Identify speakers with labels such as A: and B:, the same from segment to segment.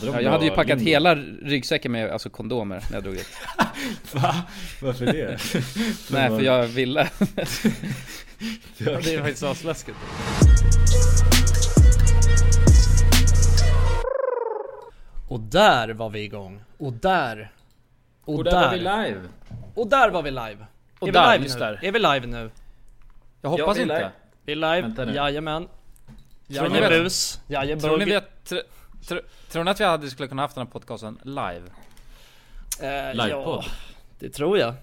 A: de
B: Ja, jag
A: bra
B: hade ju packat
A: linjer?
B: hela ryggsäcken med alltså kondomer när jag drog ut.
A: Va? Varför det?
B: Nej, för jag ville.
A: jag...
C: Det är faktiskt asläskigt. Och där var vi igång. Och där. Och,
A: Och
C: där.
A: där var vi live!
C: och där var vi live.
B: Och
C: är
B: där,
C: vi live
B: just
C: nu?
B: där.
C: Är vi live nu?
B: Jag
A: Ja,
B: hoppas
A: vi är
B: inte.
A: live.
C: Vi är live.
A: Vänta nu.
C: Jajamän.
B: Tror ni vi-
C: Jajebus.
B: Tror ni, vi,
C: Jajebugg.
B: har- tr, tr, tror ni att vi hade skulle kunna haft den här podcasten live?
C: Eh,
A: Livepodd.
C: det tror jag.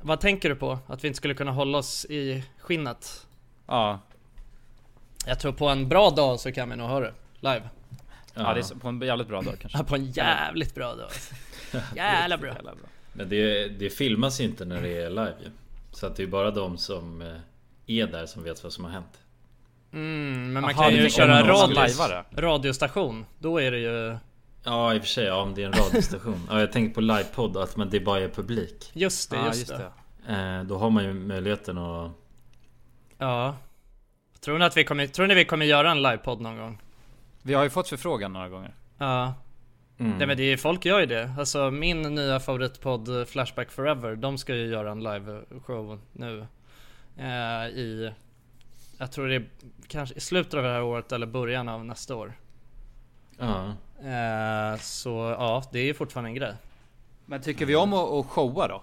C: Vad tänker du på? Att vi inte skulle kunna hålla oss i skinnet?
B: Ja,
C: Jag tror på en bra dag så kan vi nog ha det. Live.
B: ja. det är så- på en jävligt bra dag kanske.
C: Ja, På en jävligt bra dag. alltså. Jävla bra.
B: Jävla bra.
A: Men det, det filmas inte när det är live ju. Så att det är bara de som eh, är där som vet vad som har hänt.
C: Mm, men man
B: Aha,
C: kan
B: du
C: ju
B: tänker
C: köra
B: om någon
C: radio,
B: skulle lajva det?
C: radiostation. Då är det ju...
A: Ja i och för sig, ja, om det är en radiostation. ja, jag tänkte på livepodd, att man, det bara är publik.
C: Just det,
B: Ja,
C: just,
B: just
C: det.
B: det.
A: Eh, då har man ju möjligheten att...
C: Ja. Tror ni att vi kommer, tror ni vi kommer göra en livepodd någon gång?
B: Vi har ju fått förfrågan några gånger.
C: Ja.
A: Mm.
C: Nej men det är, folk gör ju det. Alltså min nya favoritpodd eh, Flashback Forever, de ska ju göra en liveshow nu. Eh, I... Jag tror det är kanske i slutet av det här året eller början av nästa år.
A: Ja.
C: Eh, så ja, det är ju fortfarande en grej.
B: Men tycker vi om att, att showa då?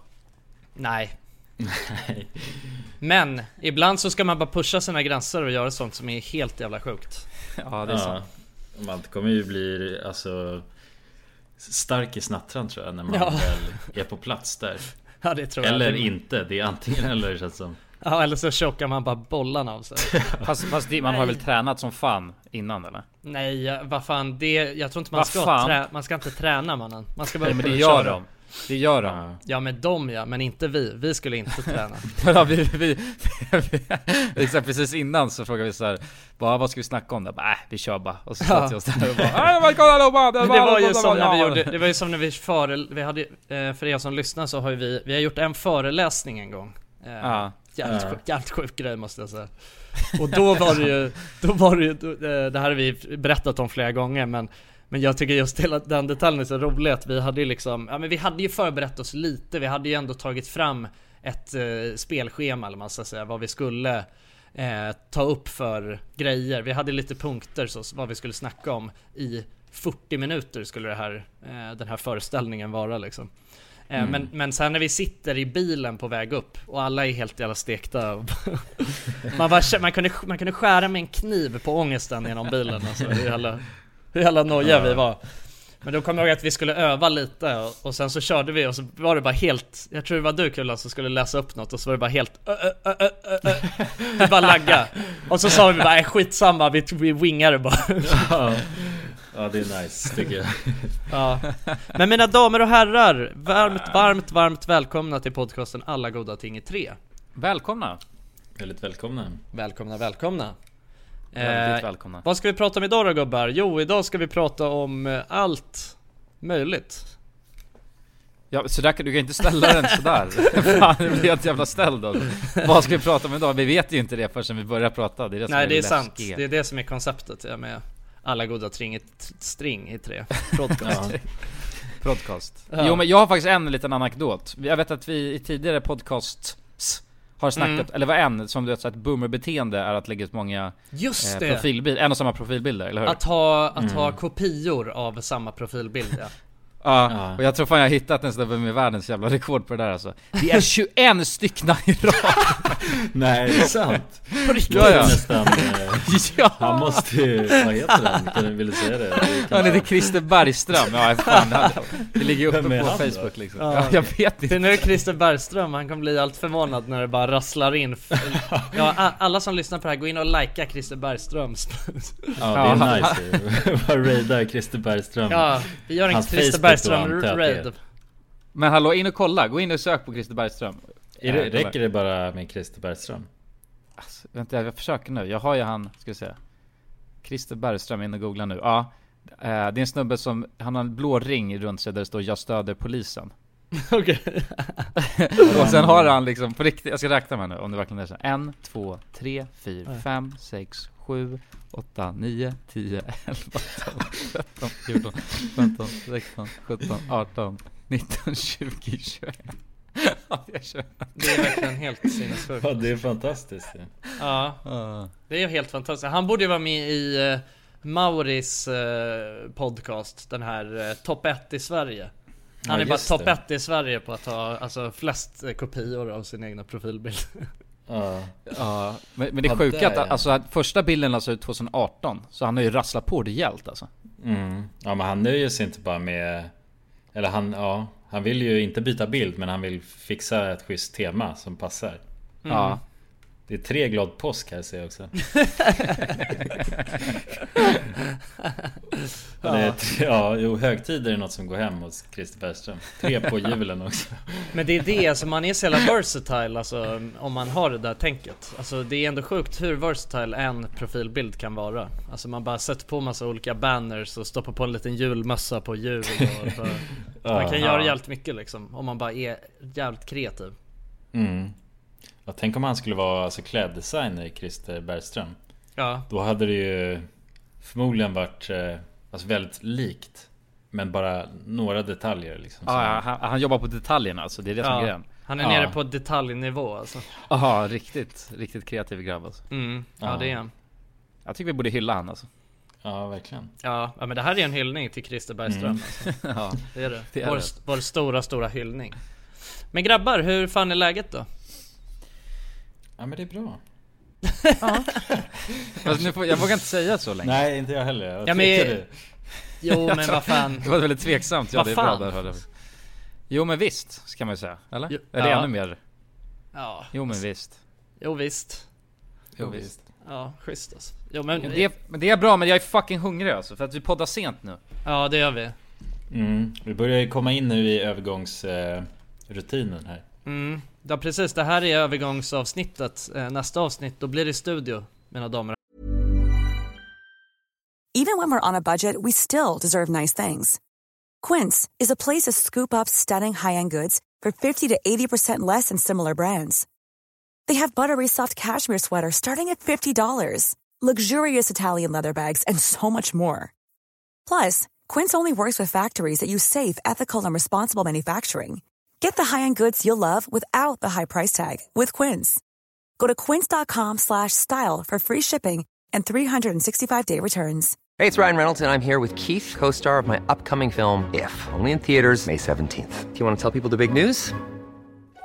C: Nej. Men ibland så ska man bara pusha sina gränser och göra sånt som är helt jävla sjukt.
B: Ja, det
A: ja.
B: är sant.
A: Man kommer ju bli alltså... Stark i snattran tror jag när man
C: Ja.
A: väl är på plats där.
C: Ja det tror jag.
A: Eller inte, det är antingen eller känns som.
C: Ja eller så chokar man bara bollarna av sig.
B: Fast, fast det, man har väl tränat som fan innan eller?
C: Nej jag- vad fan det, jag tror inte man
B: Vad
C: ska
B: fan?
C: trä, man ska inte träna mannen. Man ska bara
B: Nej men det
C: kunna
B: gör
C: köra.
B: de. Det gör de.
A: Ja.
C: Ja men de ja, men inte vi. Vi skulle inte träna.
B: Ja, vi, vi, vi, exakt precis innan så frågade vi så här, bara, vad ska vi snacka om? Då? Bara, Äh, vi kör bara. Och så satt vi oss där och bara, "Ah, vad kolla, hallå, bara,
C: "Äh, Det var ju som när vi
B: ja."
C: gjorde, det var ju som när vi före, vi hade, eh, för er som lyssnar så har ju vi, vi har gjort en föreläsning en gång. Eh,
B: Ja.
C: Jävligt,
A: Ja.
C: sjuk, jävligt sjuk grej måste jag säga. Och då var det ju, då var det ju, då, eh, det här har vi berättat om flera gånger men men jag tycker just hela den detaljen är så rolig att vi hade ju liksom, ja men vi hade ju förberett oss lite, vi hade ju ändå tagit fram ett eh, spelschema eller vad man ska säga, vad vi skulle eh, ta upp för grejer. Vi hade lite punkter så, vad vi skulle snacka om i 40 minuter skulle det här, eh, den här föreställningen vara liksom. Eh, Men, men sen när vi sitter i bilen på väg upp och alla är helt jävla stekta och man, var, man, kunde, man kunde skära med en kniv på ångesten genom bilen alltså, hur jävla, hur jävla nojiga vi var Men då kom jag ihåg att vi skulle öva lite och, och sen så körde vi och så var det bara helt Jag tror det var du Kulan som skulle läsa upp något och så var det bara helt ö, ö, ö, ö, ö, ö. Vi bara lagga Och så sa vi bara "Äh, skitsamma, vi, vi wingar det bara
A: Ja. ja, det är nice tycker jag.
C: Ja. Men mina damer och herrar, varmt, varmt, varmt välkomna till podcasten Alla goda ting i tre.
B: Välkomna!
A: Väldigt välkomna.
C: Välkomna, välkomna.
B: Väldigt
C: Eh,
B: välkomna.
C: vad ska vi prata om idag då gubbar? Jo, idag ska vi prata om eh, allt möjligt.
B: Ja, så där kan, du kan inte ställa den sådär. Fan, det blir helt jävla ställd alltså. Vad ska vi prata om idag? Vi vet ju inte det förrän vi börjar prata. Det är det som
C: Nej,
B: är
C: det är sant.
B: läskigt.
C: Det är det som är konceptet ja, med Alla goda ting i, t- string i tre.
A: Ja.
C: Podcast.
B: Podcast.
C: Ja.
B: Jo men jag har faktiskt en liten anekdot. Jag vet att vi i tidigare podcasts har snackat,
C: Mm.
B: eller var en, som du vet så att boomerbeteende är att lägga ut många eh, Mm.
C: Just det!
B: profilbilder, en och samma profilbilder, eller hur?
C: Att ha, att ha kopior av samma profilbild ja.
B: Ja,
A: Ja.
B: och jag tror fan jag har hittat en snubbe med världens jävla rekord på det där alltså. Det är 21 stycken i rad!
A: Nej, det är sant.
C: På riktigt!
B: Ja, ja.
A: Nästan, eh,
B: ja!
A: han måste ju... Vad heter han? Kan du vilja säga det? Det
B: Han
A: kan-
B: heter Christer Bergström, ja fan han, Det ligger ju uppe
A: Vem är
B: på
A: han då?
B: Facebook liksom.
C: Ja,
B: Ja, jag vet
C: Det är
B: inte.
C: nu Christer Bergström, han kommer bli allt förvånad när det bara rasslar in ja, a- Alla som lyssnar på det här, gå in och likea Christer Bergströms
B: Mm.
A: Ja, det är
B: Ja.
A: nice ju. Bara raida Christer Bergström.
C: Ja, vi gör en
A: Hans
C: Christer
A: Facebook då, antar jag att det är.
C: Bergström-raid
B: Men hallå, in och kolla, gå in och sök på Christer Bergström. Eh,
A: Är det, räcker det bara med Christer Bergström?
B: Alltså, vänta jag försöker nu, jag har ju han, ska vi se Christer Bergström, in och googla nu, ja eh, Det är en snubbe som, han har en blå ring runt sig där det står 'Jag stöder polisen'
C: Okej,
B: Och sen har han liksom, på riktigt, jag ska räkna med nu om det verkligen är så En, två, tre, fyra, fem, sex, 7, 8, 9, 10, 11, 12, 13, 14, 15, 16, 17, 18, 19, 20, 21. Ja, jag kör.
C: Det är verkligen helt sinnessjukt.
A: Ja, det är fantastiskt. ju.
C: Ja,
B: Ah.
C: det är ju helt fantastiskt. Han borde ju vara med i eh, Mauris eh, podcast, den här eh, topp 1 i Sverige. Han
A: Ja,
C: är bara
A: just
C: topp
A: det.
C: 1 i Sverige på att ha alltså, flest eh, kopior av sin egna profilbild.
A: Ja.
B: Ja, men, men det är
A: Ja,
B: sjukt
A: där,
B: att
A: ja.
B: alltså, att första bilden lades ut 2018, så han har ju rasslat på rejält alltså.
A: Mm. ja, men han nöjer sig inte bara med... Eller han, ja. Han vill ju inte byta bild, men han vill fixa ett schysst tema som passar.
B: Ja,
A: Det är tre glad påsk här ser jag också. ja. Det är tre, ja, jo, högtider är något som går hem hos Christer Bergström. Tre på julen också.
C: Men det är det, alltså man är så jävla versatile alltså, om man har det där tänket. Alltså det är ändå sjukt hur versatile en profilbild kan vara. Alltså man bara sätter på massa olika banners och stoppar på en liten julmössa på jul och så. Man kan göra jävligt mycket liksom, om man bara är jävligt kreativ.
A: Mm. Ja, tänk om han skulle vara alltså, kläddesigner, Christer Bergström.
C: Ja,
A: Då hade det ju förmodligen varit eh, alltså, väldigt likt. Men bara några detaljer liksom.
B: ja ja, han, han jobbar på detaljerna alltså, det är det som är
C: ja.
B: grejen.
C: han är
B: alltså. Ja.
C: nere på detaljnivå alltså.
B: Aha, riktigt, riktigt kreativ grabb alltså.
C: Mm. Ja,
A: Ja.
C: det är han.
B: Jag tycker vi borde hylla han alltså.
A: ja verkligen.
C: Ja, ja, men det här är en hyllning till Christer Bergström. alltså.
B: ja.
C: Det är Mm. det.
B: Det är
C: vår,
B: det.
C: vår stora, stora hyllning. Men grabbar, hur fan är läget då?
A: Ja men det är bra.
B: Fast nu får, jag vågar inte säga så länge.
A: Nej inte jag heller. Jag
C: Ja, men-
A: tvekade.
C: Jo men vad fan.
B: Det var väldigt tveksamt. Ja,
C: Vad
B: det är bra.
C: fan?
B: Där, hörde jag. Jo men visst, ska man ju säga. Eller?
C: Jo,
B: Eller
C: ja.
B: ännu mer.
C: Ja,
B: Jo men visst.
C: jo visst.
A: Jo, visst.
C: Ja, schysst alltså. Jo men,
B: Men det, men det är bra, men jag är fucking hungrig alltså. För att vi poddar sent nu.
C: ja det gör vi.
A: Mm. Vi börjar ju komma in nu i övergångsrutinen här.
C: Mm. Ja precis, det här är övergångsavsnittet. Eh, Nästa avsnitt, då blir det studio, mina damer och
D: Even when we're on a budget, we still deserve nice things. Quince is a place to scoop up stunning high-end goods for 50 to 80% less than similar brands. They have buttery soft cashmere sweaters starting at $50, luxurious Italian leather bags, and so much more. Plus, Quince only works with factories that use safe, ethical, and responsible manufacturing. Get the high-end goods you'll love without the high price tag with Quince. Go to quince.com/style slash style for free shipping and 365-day returns.
E: Hey, it's Ryan Reynolds, and I'm here with Keith, co star of my upcoming film, If, only in theaters, May 17th. Do you want to tell people the big news?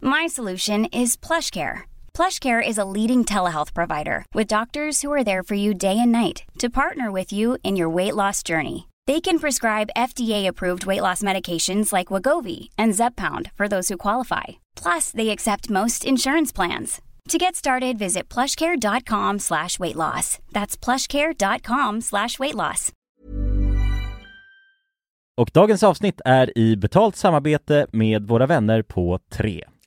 F: My solution is PlushCare. PlushCare is a leading telehealth provider with doctors who are there for you day and night to partner with you in your weight loss journey. They can prescribe FDA-approved weight loss medications like Wagovi and Zepbound for those who qualify. Plus, they accept most insurance plans. To get started, visit plushcare.com slash weight loss. That's plushcare.com slash weight loss.
G: Och dagens avsnitt är i betalt samarbete med våra vänner på 3.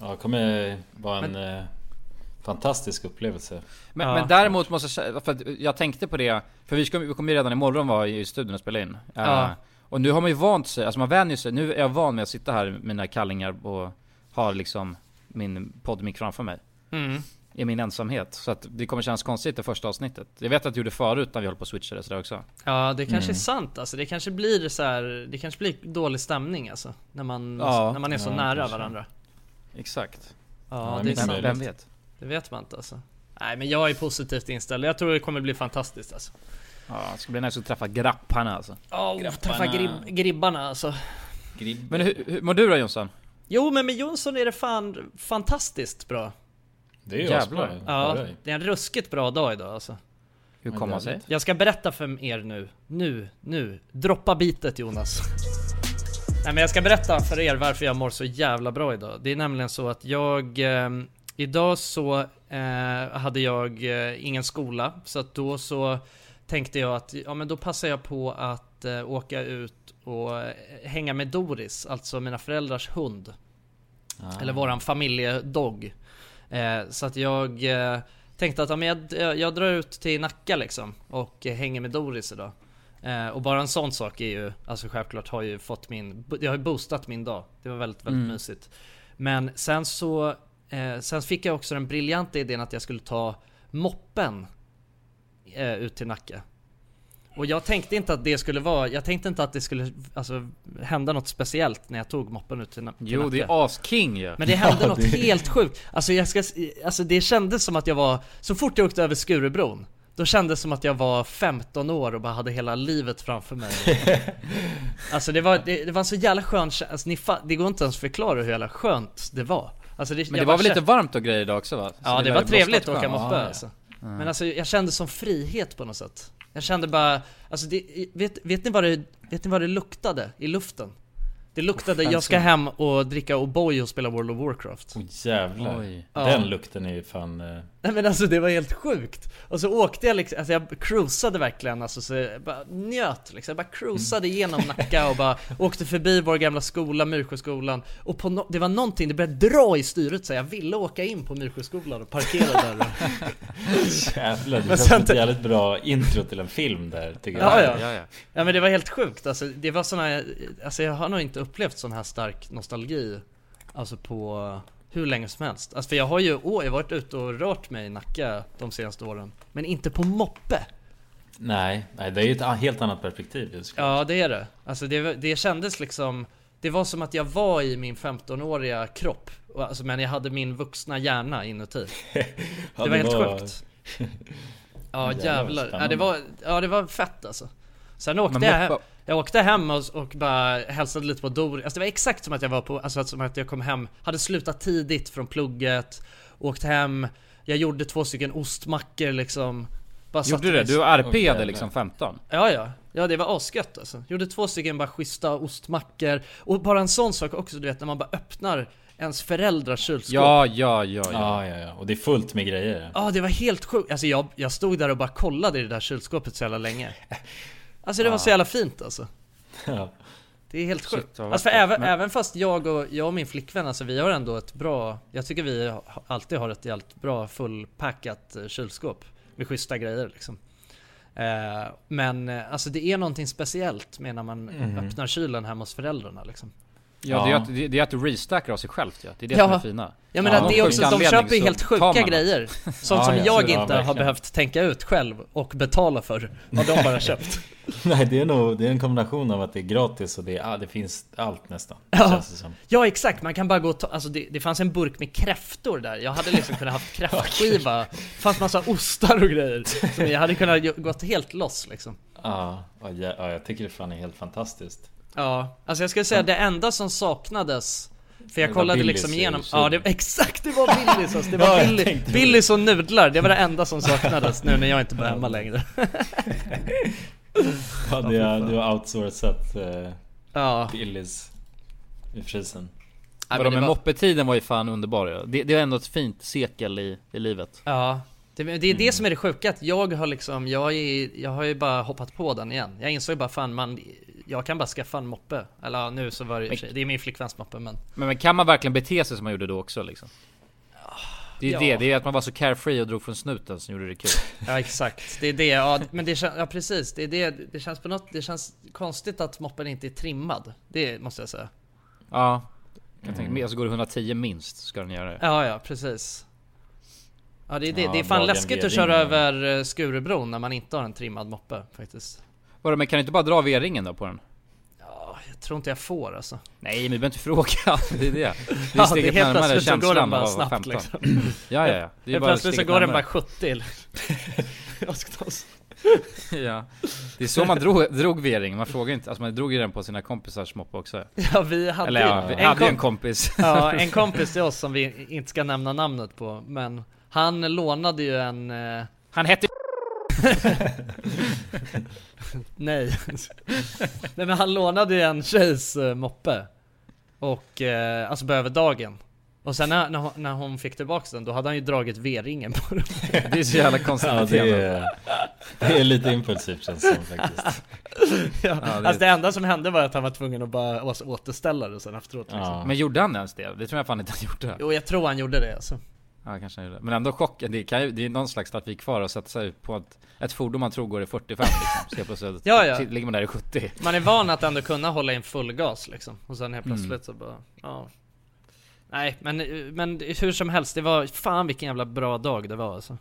A: Ja, det kommer vara en eh, fantastisk upplevelse.
B: Men,
C: Ja.
B: men däremot måste jag säga, för att jag tänkte på det, för vi, ska, vi kommer ju redan imorgon vara i studion och spela in. Eh,
C: Ja.
B: och nu har man ju vant sig, alltså man vänjer sig, nu är jag van med att sitta här med mina kallingar och har liksom min poddmick framför mig.
C: Mm.
B: I min ensamhet. Så att det kommer kännas konstigt det första avsnittet. Jag vet att du gjorde förut när vi höll på och switchade sådär också.
C: Ja det kanske är sant alltså. Det kanske blir så här, det kanske blir dålig stämning alltså. När man,
B: Ja.
C: när man är så
A: Ja,
C: nära
A: kanske.
C: varandra.
B: Exakt.
C: Ja,
A: Ja,
C: det är
A: mycket
C: sant.
B: Vem,
A: möjligt.
B: vem vet?
C: Det vet man inte alltså. Nej men jag är positivt inställd. Jag tror det kommer bli fantastiskt alltså.
B: Ja, det ska bli nice att träffa grapparna alltså.
C: Åh, oh, träffa grib- gribbarna alltså.
B: Men hur, hur mår du då Jonsson?
C: Jo men med Jonsson är det fan fantastiskt bra.
A: Det är ju
B: Jävlar.
A: asbra.
C: Ja,
A: Hör dig.
C: det är en ruskigt bra dag idag alltså.
B: Hur
A: Men
B: kom
A: det
B: han
A: är
B: sig?
C: Jag ska berätta för er nu. Nu, nu. Droppa bitet Jonas. Nej men jag ska berätta för er varför jag mår så jävla bra idag. Det är nämligen så att jag... ehm, idag så eh, hade jag eh, ingen skola. Så att då så tänkte jag att ja men då passar jag på att eh, åka ut och eh, hänga med Doris, alltså mina föräldrars hund.
B: Ah.
C: Eller våran familjedog. Eh, så att jag eh, tänkte att ja, men jag, jag, jag drar ut till Nacka liksom och eh, hänger med Doris idag. Eh, och bara en sån sak är ju, alltså självklart har ju fått min, jag har ju boostat min dag. Det var väldigt,
B: Mm.
C: väldigt mysigt. Men sen så, eh, sen fick jag också den briljanta idén att jag skulle ta moppen eh, ut till Nacka. Och jag tänkte inte att det skulle vara, jag tänkte inte att det skulle alltså, hända något speciellt när jag tog moppen ut till, Na- till
B: Jo,
C: Nacka.
B: det är asking ju.
C: Men det hände något helt sjukt. Alltså, jag ska, alltså det kändes som att jag var, så fort jag åkte över Skurubron, då kändes det som att jag var 15 år och bara hade hela livet framför mig. alltså det var, det, det var en så jävla skön kä- alltså, ni fa- det går inte ens att förklara hur jävla skönt det var. Alltså det,
B: Men det
C: jag
B: var
C: bara
B: väl
C: kä-
B: lite varmt och grejer idag också va? Så
C: Ja det
B: lär
C: var
B: ju
C: trevligt att
B: blåsa
C: åka
B: lite grann.
C: moppe alltså. Men alltså jag kände som frihet på något sätt. Jag kände bara, alltså det, vet, vet, ni vad det, vet ni vad det luktade i luften? Det luktade, jag ska hem och dricka O'boy och spela World of Warcraft.
A: Åh jävlar.
B: Oj.
A: Den lukten är ju fan... eh,
C: Nej men alltså det var helt sjukt! Och så åkte jag liksom, alltså jag cruisade verkligen alltså så jag bara njöt liksom. Jag bara cruisade igenom Nacka och bara åkte förbi vår gamla skola, Myrsjöskolan. Och på no- det var någonting, det började dra i styret så jag ville åka in på Myrsjöskolan och parkera där.
A: Jävlar, det
C: Men
A: känns
C: sen-
A: som ett jävligt bra intro till en film där tycker jag.
C: Ja, ja.
B: Ja, ja.
C: Ja men det var helt sjukt, alltså det var såna, alltså jag har nog inte upplevt sån här stark nostalgi Alltså på hur länge som helst. Alltså för jag har ju å, jag har varit ute och rört mig i Nacka de senaste åren. Men inte på moppe!
A: Nej, nej, det är ju ett a- helt annat perspektiv. just.
C: Ja det är det. Alltså det, det kändes liksom Det var som att jag var i min 15-åriga kropp Och alltså, Men jag hade min vuxna hjärna inuti
A: Ja,
C: Det var helt sjukt Ja
A: Jävlar,
C: jävlar, ja,
A: spännande.
C: det var, ja det var fett alltså Sen
B: Men
C: åkte jag,
B: moppa-
C: hem- jag åkte hem och, och bara hälsade lite på Doris alltså, Det var exakt som att jag var på, alltså som att jag kom hem Hade slutat tidigt från plugget Åkt hem Jag gjorde två stycken ostmackor liksom Bara
B: Gjorde
C: satte
B: du det?
C: mig-
B: Du RP'ade
A: Okej,
B: liksom 15?
C: Ja, ja. Ja, det var asgött alltså. Gjorde två stycken bara schyssta ostmackor. Och bara en sån sak också, du vet när man bara öppnar ens föräldrars kylskåp.
B: Ja, ja, ja, ja.
A: Ja, ja, ja. Och det är fullt med grejer.
C: Ja, det var helt sjukt. Alltså jag, jag stod där och bara kollade i det där kylskåpet så jävla länge. Alltså det var så jävla fint alltså.
A: Ja.
C: Det är helt
B: Shit,
C: sjukt.
B: vad
C: Alltså för
B: vackert.
C: även,
B: Men-
C: även fast jag och, jag och min flickvän, alltså vi har ändå ett bra... Jag tycker vi ha- alltid har ett jävligt bra fullpackat eh, kylskåp. Med schyssta grejer liksom. Eh, men eh, alltså det är någonting speciellt med när man öppnar kylen hemma hos föräldrarna liksom.
B: Ja, Det, är ju att, det, det är att du restackar av sig själv ju. Det är det
C: Ja.
B: som är fina.
C: Ja men
B: Ja,
C: att det är
B: av
C: också,
B: någon
C: de
B: sjuk
C: köper ju
B: anledning
C: helt
B: så tar man
C: sjuka
B: det.
C: grejer. Sånt
A: Ja,
C: som
A: ja,
C: jag
A: så- ja,
C: inte har
A: verkligen.
C: behövt tänka ut själv och betala för. Vad de bara köpt.
A: Nej, det är nog det är en kombination av att det är gratis och det, är, ah, det finns allt nästan.
C: Ja.
A: Känns det som.
C: Ja exakt, man kan bara gå och ta, alltså det, det fanns en burk med kräftor där. Jag hade liksom kunnat haft kräftskiva. Det fanns massa ostar och grejer. Som jag hade kunnat ju- gått helt loss liksom.
A: Ja, ja, ja, ja, jag tycker det fan är helt fantastiskt.
C: Ja, alltså jag skulle säga det enda som saknades för jag
A: Det var
C: kollade
A: Billys
C: liksom
A: i
C: igenom,
A: kylen.
C: ja det, exakt det var Billys alltså, det var
A: Ja, jag
C: Billy,
A: tänkte det.
C: Billys och nudlar, det var det enda som saknades nu när jag inte bor hemma längre
A: Ja, det, är- du har outsourcat eh,
C: Ja,
A: Billys i frysen.
C: Ja,
B: Vadå,
C: men det
B: men
C: var-
B: moppetiden var ju fan underbar ja. det, det är ändå ett fint sekel i, i livet.
C: Ja, det, det är det som är det sjuka att jag har liksom, jag, är, jag har ju bara hoppat på den igen. Jag insåg bara fan man, jag kan bara skaffa en moppe. Eller ja, nu så var det i och för sig, det är min flickväns moppe men.
B: Men, men kan man verkligen bete sig som man gjorde då också liksom? Det är
C: Ja.
B: det, det är att man var så carefree och drog från snuten som gjorde det kul.
C: Ja exakt, det är det. Ja, men det känns, ja precis, det är det. Det känns på något, det känns konstigt att moppen inte är trimmad. Det måste jag säga.
B: Ja. Kan tänka mig, alltså går det 110 minst ska den göra det.
C: Ja, ja precis. Ja det är det.
A: Ja,
C: det är fan
A: Dagen
C: läskigt att
A: Veding,
C: köra
A: ja.
C: över eh, Skurubron när man inte har en trimmad moppe faktiskt.
B: Vadå men kan du inte bara dra V-ringen då på den?
C: Ja, jag tror inte jag får alltså.
B: Nej men du behöver inte fråga, det är det. Det är
C: Ja, det är
B: steget
C: helt
B: närmare
C: plötsligt så går den
B: känslan av
C: bara
B: att vara
C: snabbt
B: 15.
C: liksom.
B: Ja ja ja. Det är bara
C: Helt plötsligt så
B: steget
C: går den
B: närmare.
C: bara 70 Asktås.
B: Ja. Det är så man drog, drog V-ringen, man frågar inte. Alltså man drog ju den på sina kompisars moppe också.
C: Ja vi hade,
B: Eller ja, vi
C: en,
B: hade ju en
C: kom-
B: kompis.
C: ja, en kompis till oss som vi inte ska nämna namnet på men han lånade ju en... Eh,
B: Han hette
C: nej. nej men han lånade ju en tjejs eh, moppe. Och eh, alltså behöver dagen. Och sen när, när, hon, när hon fick tillbaks den då hade han ju dragit V-ringen på den.
B: Det är så jävla konstigt
A: Ja, det
B: beteende.
A: är, det är lite impulsivt känns det som faktiskt.
C: ja,
B: det-
C: Alltså det enda som hände var att han var tvungen att bara alltså, återställa det sen efteråt liksom.
A: Ja.
B: Men gjorde han ens det? Det tror jag fan inte han gjorde.
C: Jo jag tror han gjorde det alltså.
B: Ja, kanske han gjorde. Men ändå chocken. Det, kan ju, det är någon slags trafik kvar att sätta sig på ett, ett fordon man tror går i 45 liksom. Så helt plötsligt
C: Ja, ja.
B: sit- ligger man där i 70.
C: Man är van att ändå kunna hålla in full gas liksom och sen
A: Mm.
C: helt plötsligt så bara, ja. Nej men, men hur som helst, det var fan vilken jävla bra dag det var alltså.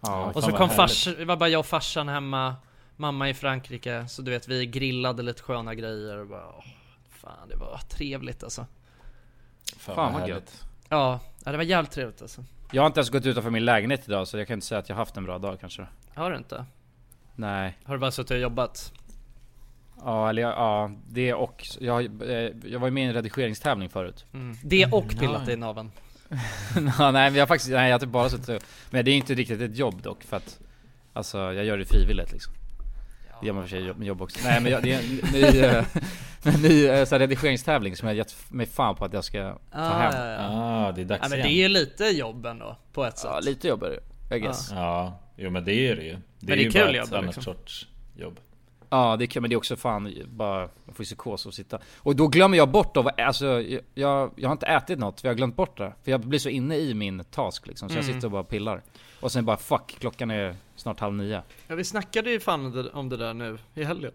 B: Ja,
C: Och
A: fan
C: så
A: vad
C: kom
A: härligt.
C: fars, det var bara jag och farsan hemma, mamma i Frankrike, så du vet vi grillade lite sköna grejer och bara, åh, fan det var trevligt alltså.
A: Fan,
B: fan vad
A: härligt.
B: gött.
C: Ja, ja, det var jävligt trevligt alltså.
B: Jag har inte ens gått utanför min lägenhet idag så jag kan inte säga att jag haft en bra dag kanske.
C: Har du inte?
B: Nej.
C: Har du bara suttit och jobbat?
B: Ja, eller jag- ja, det och jag, har- eh, jag var ju med i en redigeringstävling förut.
C: Det och pillat i naveln.
B: Ja, nej, men jag har faktiskt, nej jag har typ bara suttit och- Men det är ju inte riktigt ett jobb dock för att Alltså jag gör det frivilligt liksom Det gör man för sig i jobb, med jobb också Nej men jag, det är en ny, eh, en ny eh, så här, redigeringstävling som jag gett mig fan på att jag ska ta hem ja,
A: Ah, det är dags
C: Ja, men det
A: igen.
C: är ju lite jobb ändå, på ett sätt.
B: lite jobb är det I guess ja.
A: Ja, jo men det är det ju. Det
C: det är
A: ju
C: kul
A: bara
C: jobb
A: ett
C: då,
A: annat
C: liksom.
A: sorts jobb.
B: det är kul men det är också fan bara Man får ju psykos och sitta Och då glömmer jag bort då, vad- alltså jag, jag har inte ätit något för jag har glömt bort det För jag blir så inne i min task liksom så jag sitter och bara pillar Och sen bara fuck, klockan är snart halv nio
C: Ja vi snackade ju fan det- om det där nu i helgen.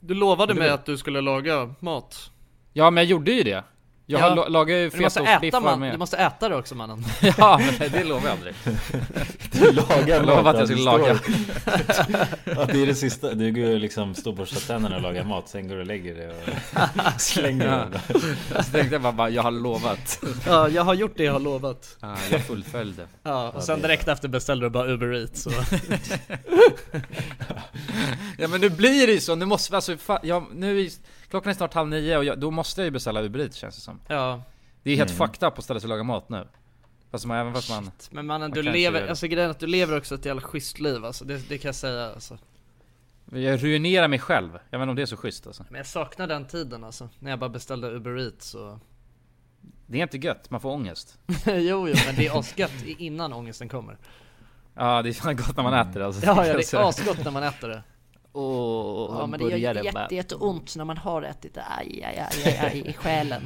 C: Du lovade mig att du skulle laga mat.
B: Ja men jag gjorde ju det. Jag
C: Ja.
B: har la- lagar ju
C: Men du måste, äta
B: fetaostbiffar
C: man,
B: med.
C: du måste äta det också mannen.
B: Ja men det lovar jag aldrig.
A: Laga
B: Jag lovade att jag
A: det
B: skulle
A: står-
B: laga.
A: Att det är det sista, du går ju liksom står borstar tänderna och lagar mat, sen går du och lägger det och slänger
B: Ja.
A: det.
B: Så tänkte jag bara, bara jag har lovat.
C: Ja jag har gjort det jag har lovat.
B: Ja, jag fullföljde.
C: Ja och sen direkt efter beställde du bara Uber Eats. Så.
B: Ja men nu blir det ju så, nu måste vi alltså, fan, jag, nu är, klockan är snart halv nio och jag, då måste jag ju beställa Uber Eats känns det som.
C: Ja.
B: Mm. Det är helt fucked up att ställa sig och laga mat nu. Fast man, även fast man...
C: Shit, men mannen du
B: kanske gör
C: lever,
B: det.
C: alltså grejen är att du lever också ett jävla schysst liv alltså, det, det kan jag säga alltså.
B: Jag ruinerar mig själv. Jag vet inte om det är så schysst alltså.
C: Men jag saknar den tiden alltså, när jag bara beställde Uber Eats och...
B: Det är inte gött, man får ångest.
C: jo jo, men det är asgött i- innan ångesten kommer.
B: Ja, det är fan gott när man äter alltså.
C: Ja, ja det är asgott när man äter det.
H: Åh,
C: Ja men det gör jätte, jätteont när man har ätit det, aj, aj, aj, aj, aj i själen.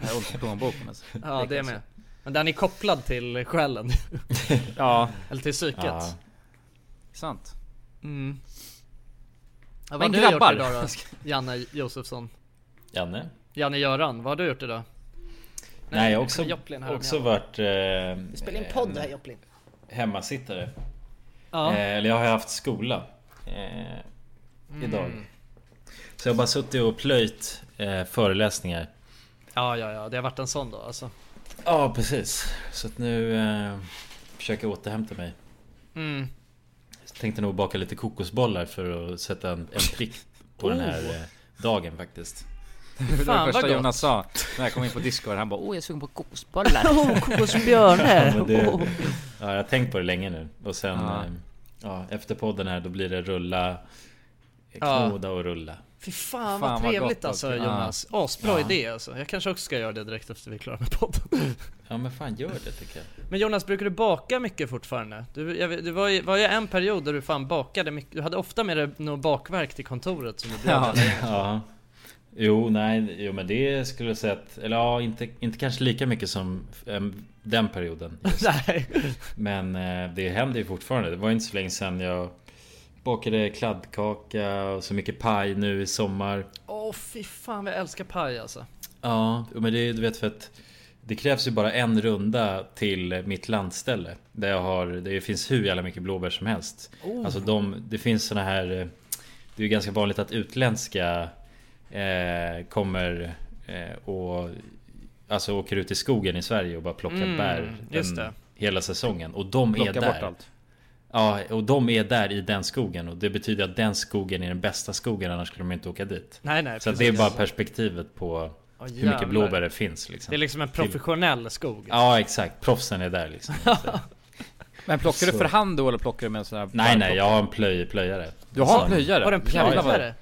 B: Jag har ont i plånboken alltså.
C: Ja det är med. Men den är kopplad till själen,
B: Ja,
C: eller till psyket.
A: Ja.
B: sant.
C: Mm. Ja, vad
B: Men
C: har du
B: grabbar.
C: gjort idag då? Janne Josefsson?
A: Janne?
C: Janne Göran, vad har du gjort idag?
A: Nej, jag har också,
C: Joplin här om
A: också
C: jag-
A: varit... Eh,
C: Vi spelar in podd här Joplin.
A: Hemmasittare.
C: Ja.
A: Eh, eller jag har haft skola. Eh, Idag. Så jag har bara suttit och plöjt eh, föreläsningar.
C: ja, ja, ja, det har varit en sån då alltså.
A: Ja, precis. Så att nu eh, försöker jag återhämta mig.
C: Mm.
A: Tänkte nog baka lite kokosbollar för att sätta en, en prick på den här eh, dagen faktiskt.
B: Det var
C: Fan,
B: det
C: vad
B: första
C: gott.
B: Jonas sa när jag kom in på Discord. Han bara åh jag är sugen på kokosbollar.
C: Oh,
H: Åh, kokosbjörne!
A: Men det, ja, jag har tänkt på det länge nu. Och sen
B: Ja.
A: eh, ja, efter podden här då blir det rulla,
C: Ja.
A: knoda och rulla.
C: Fy
B: Fan,
C: fan,
B: vad
C: vad trevligt
B: gott,
C: alltså
B: Joplin.
C: Jonas. Asbra idé alltså. Jag kanske också ska göra det direkt efter vi är klara med podden.
A: Ja men fan gör det tycker jag.
C: Men Jonas, brukar du baka mycket fortfarande? Du, jag, vet- det var ju, var ju en period där du fan bakade mycket. Du hade ofta med dig något bakverk till kontoret som du bjöd
B: Ja.
C: ja.
A: Ja. Jo, nej, jo, men det skulle jag säga att, eller ja, inte, inte kanske lika mycket som em, den perioden.
C: Nej.
A: Men eh, det händer ju fortfarande. Det var inte så länge sedan jag bakade kladdkaka och så mycket paj nu i sommar.
C: Åh fy fan vad jag älskar paj alltså.
A: Ja, jo, men det du vet för att det krävs ju bara en runda till mitt landställe. Där jag har, det finns hur jävla mycket blåbär som helst.
C: Oh.
A: Alltså de, det finns såna här, eh, det är ju ganska vanligt att utländska eh, kommer eh, och Alltså åker ut i skogen i Sverige och bara plockar
C: Mm,
A: bär
C: just det.
A: hela säsongen. Och de är
B: Plocka
A: där.
B: bort allt.
A: Ja, och de är där i den skogen och det betyder att den skogen är den bästa skogen annars skulle de inte åka dit.
C: Nej nej
A: Så att det är bara perspektivet på
C: Åh,
A: hur
C: jävlar.
A: mycket blåbär det finns liksom.
C: Det är liksom en professionell skog.
A: Ja exakt, proffsen är där liksom. Så.
B: Men plockar du
A: Så.
B: för hand då eller plockar du med en sån här?
A: nej nej, jag har en plöj, plöjare.
B: Du har
A: Som-
B: en plöjare?
C: Har du en
B: Jävlar vad-
C: plöjare?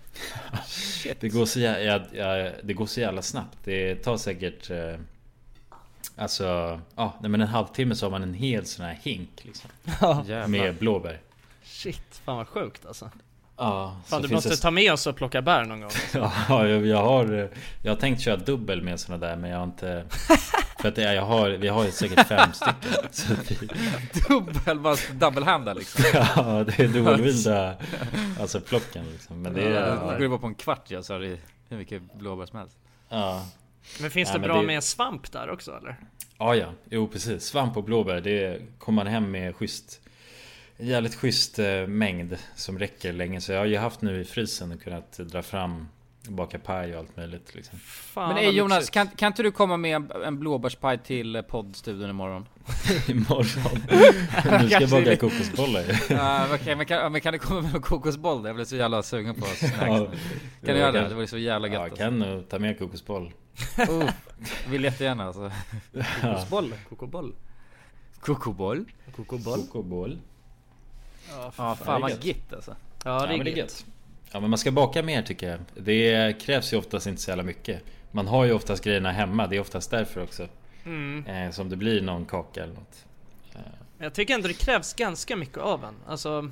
A: Det går så jävla, jag, jag, det går så jävla snabbt. Det tar säkert... Eh, alltså, ja, nej, men en halvtimme så har man en hel sån här hink liksom.
B: Jävlar.
A: Med blåbär.
C: Shit, fan vad sjukt alltså.
A: Ja, så
C: Fan du
A: finns
C: måste
A: det-
C: ta med oss och plocka bär någon gång.
A: Ja, jag, jag har Jag har tänkt köra dubbel med såna där men jag har inte För att det är, jag har, vi har ju säkert fem stycken så att vi,
B: Dubbel, bara double-handar liksom.
A: Ja, det är dualvilda Alltså plocken liksom Men det
B: Då går
A: är
B: det bara på en kvart ja, så har du hur mycket blåbär som helst.
A: Ja,
C: Men finns
A: Nej,
C: det
A: men
C: bra
A: det-
C: med svamp där också eller?
A: ja, ja. jo precis Svamp och blåbär, det kommer man hem med schysst en Jävligt schysst eh, mängd som räcker länge så jag har ju haft nu i frysen och kunnat dra fram Baka paj och allt möjligt liksom
C: Fan,
B: Men
C: vad
B: ey, Jonas,
C: lyxigt.
B: kan, kan inte du komma med en, en blåbärspaj till eh, poddstudion imorgon?
A: Imorgon Nu ska jag
B: Kanske
A: baka
B: det-
A: kokosbollar ju.
B: Ja, okej, men, kan, ja, men kan du komma med någon kokosboll? där? Jag blev så jävla sugen på snacks
A: Ja.
B: nu. Kan du göra det? Det var ju så jävla
A: Ja,
B: gött
A: jag kan nog ta med kokosboll
B: alltså. oh, Vill jättegärna alltså.
C: Kokosboll, kokoboll.
B: Kokoboll?
C: Kokoboll.
A: Kokoboll
C: Ja,
B: Ja fan
A: det är
B: vad
A: gött.
B: gitt alltså.
C: ja, det är gött.
A: Ja men man ska baka mer tycker jag. Det krävs ju oftast inte så jävla mycket. Man har ju oftast grejerna hemma. Det är oftast därför också.
C: Mm.
A: Eh, som det blir någon kaka eller något.
C: Men Jag tycker ändå det krävs ganska mycket av en. Alltså,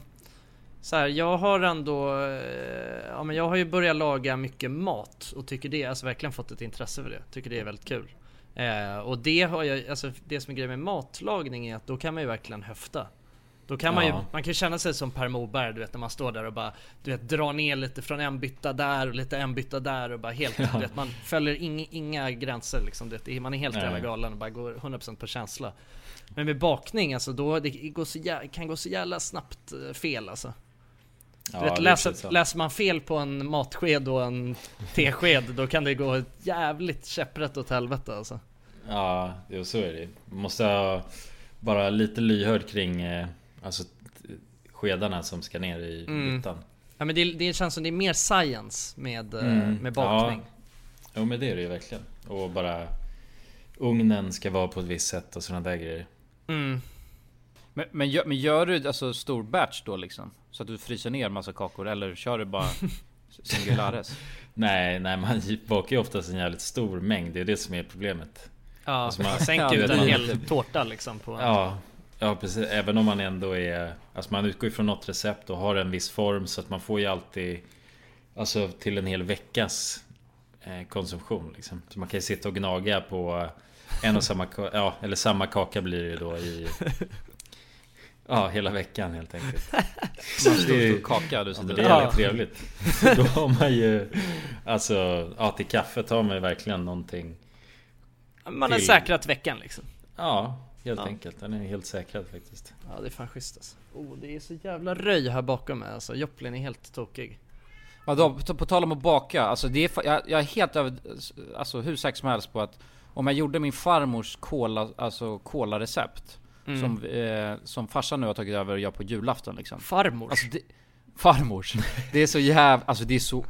C: så här, jag har ändå, eh, ja men jag har ju börjat laga mycket mat och tycker det, alltså verkligen fått ett intresse för det. Tycker det är väldigt kul. Eh, och det har jag, alltså det som är grejen med matlagning är att då kan man ju verkligen höfta. Då kan man ju,
A: Ja.
C: man kan ju känna sig som Per Morberg du vet när man står där och bara Du vet drar ner lite från en bytta där och lite en bytta där och bara helt du vet, Man följer ing, inga gränser liksom du vet, det- Man är helt
A: Nej.
C: jävla galen och bara går 100% på känsla Men med bakning alltså då det går så jä, kan gå så jävla snabbt eh, fel alltså
A: Ja,
C: du vet,
A: det är precis
C: läser,
A: så.
C: läser man fel på en matsked och en tesked då kan det gå ett jävligt käpprätt åt helvete alltså
A: Ja, jo, så är det. Man måste ha bara lite lyhörd kring eh, alltså, t- skedarna som ska ner i
C: Mm.
A: byttan.
C: Ja men det, det känns som det är mer science med, eh, med
A: Mm. Ja.
C: bakning
A: Jo men det är det ju verkligen. Och bara ugnen ska vara på ett visst sätt och sådana där grejer.
C: Mm.
B: Men, men, gör, men gör du alltså stor batch då liksom? Så att du fryser ner massa kakor eller kör du bara singulares?
A: Nej, nej man bakar ju oftast en jävligt stor mängd. Det är det som är problemet.
C: Ja,
A: Alltså, man-
C: man sänker ut
A: Ja,
C: en
A: det-
C: hel tårta liksom på en...
A: Ja, ja precis. Även om man ändå är... Alltså man utgår ju från något recept och har en viss form så att man får ju alltid... Alltså till en hel veckas eh, konsumtion liksom. Så man kan ju sitta och gnaga på en och samma kaka. Ja, eller samma kaka blir det ju då i... Ja, hela veckan helt enkelt.
B: Som en stor, stor kaka du
A: Ja,
B: sitter
A: men
B: och
A: det är
B: äter.
A: jävligt trevligt. Då har man ju... Alltså, ja till kaffet har man ju verkligen någonting...
C: Man har
A: till-
C: säkrat veckan liksom.
A: Ja, helt
C: Ja.
A: enkelt. Den är helt säkrad faktiskt.
C: Ja det är fan schysst alltså. Oh, det är så jävla röj här bakom mig alltså. Joplin är helt tokig.
B: Vadå, på, på tal om att baka, alltså det är, fa- jag, jag är helt över, alltså hur säker som helst på att om jag gjorde min farmors kola, alltså kolarecept
A: Mm.
B: som, eh, som farsan nu har tagit över och gör på julafton liksom.
C: Farmor.
B: Alltså det, farmors, det är så jävla, alltså det är så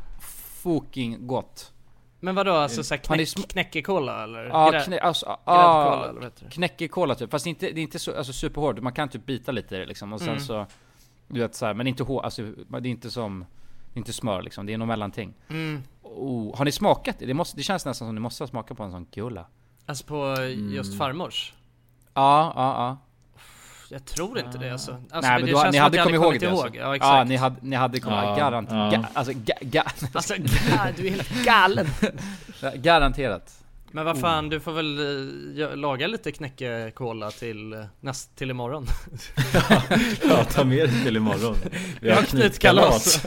B: fucking gott.
C: men vadå alltså såhär
B: Han är
C: knäck,
B: Eh, sm-
C: knäckekola eller?
B: Ja,
C: Grä-
B: knä, alltså, ah,
C: gräddkola eller vad heter det?
B: knäckekola typ, fast inte, det är inte så, alltså superhård, man kan typ bita lite i det liksom och sen så, du vet så här, men inte hår, alltså det är inte som, det är inte smör liksom, det är något mellanting.
C: Mm.
B: Oh, har ni smakat det? Det, måste, det känns nästan som ni måste smaka på en sån kula.
C: Alltså på
B: Mm.
C: just farmors?
B: Ja, ja, ja.
C: Jag tror inte det alltså. alltså
B: Nej men då, ni
C: som att
B: hade
C: jag
B: kommit ihåg
C: kommit
B: det alltså.
C: Ja exakt.
B: ja, ni hade, ni hade kommit
A: Ja,
B: ihåg, garant,
A: ja.
B: ga, alltså, ga, ga,
C: Alltså ga- du är helt galen.
B: garanterat.
C: Men vad fan, du får väl eh, gö- laga lite knäckekola till, eh, näst, till imorgon.
A: Ja, ta med dig till imorgon. Vi
C: har knytkalas.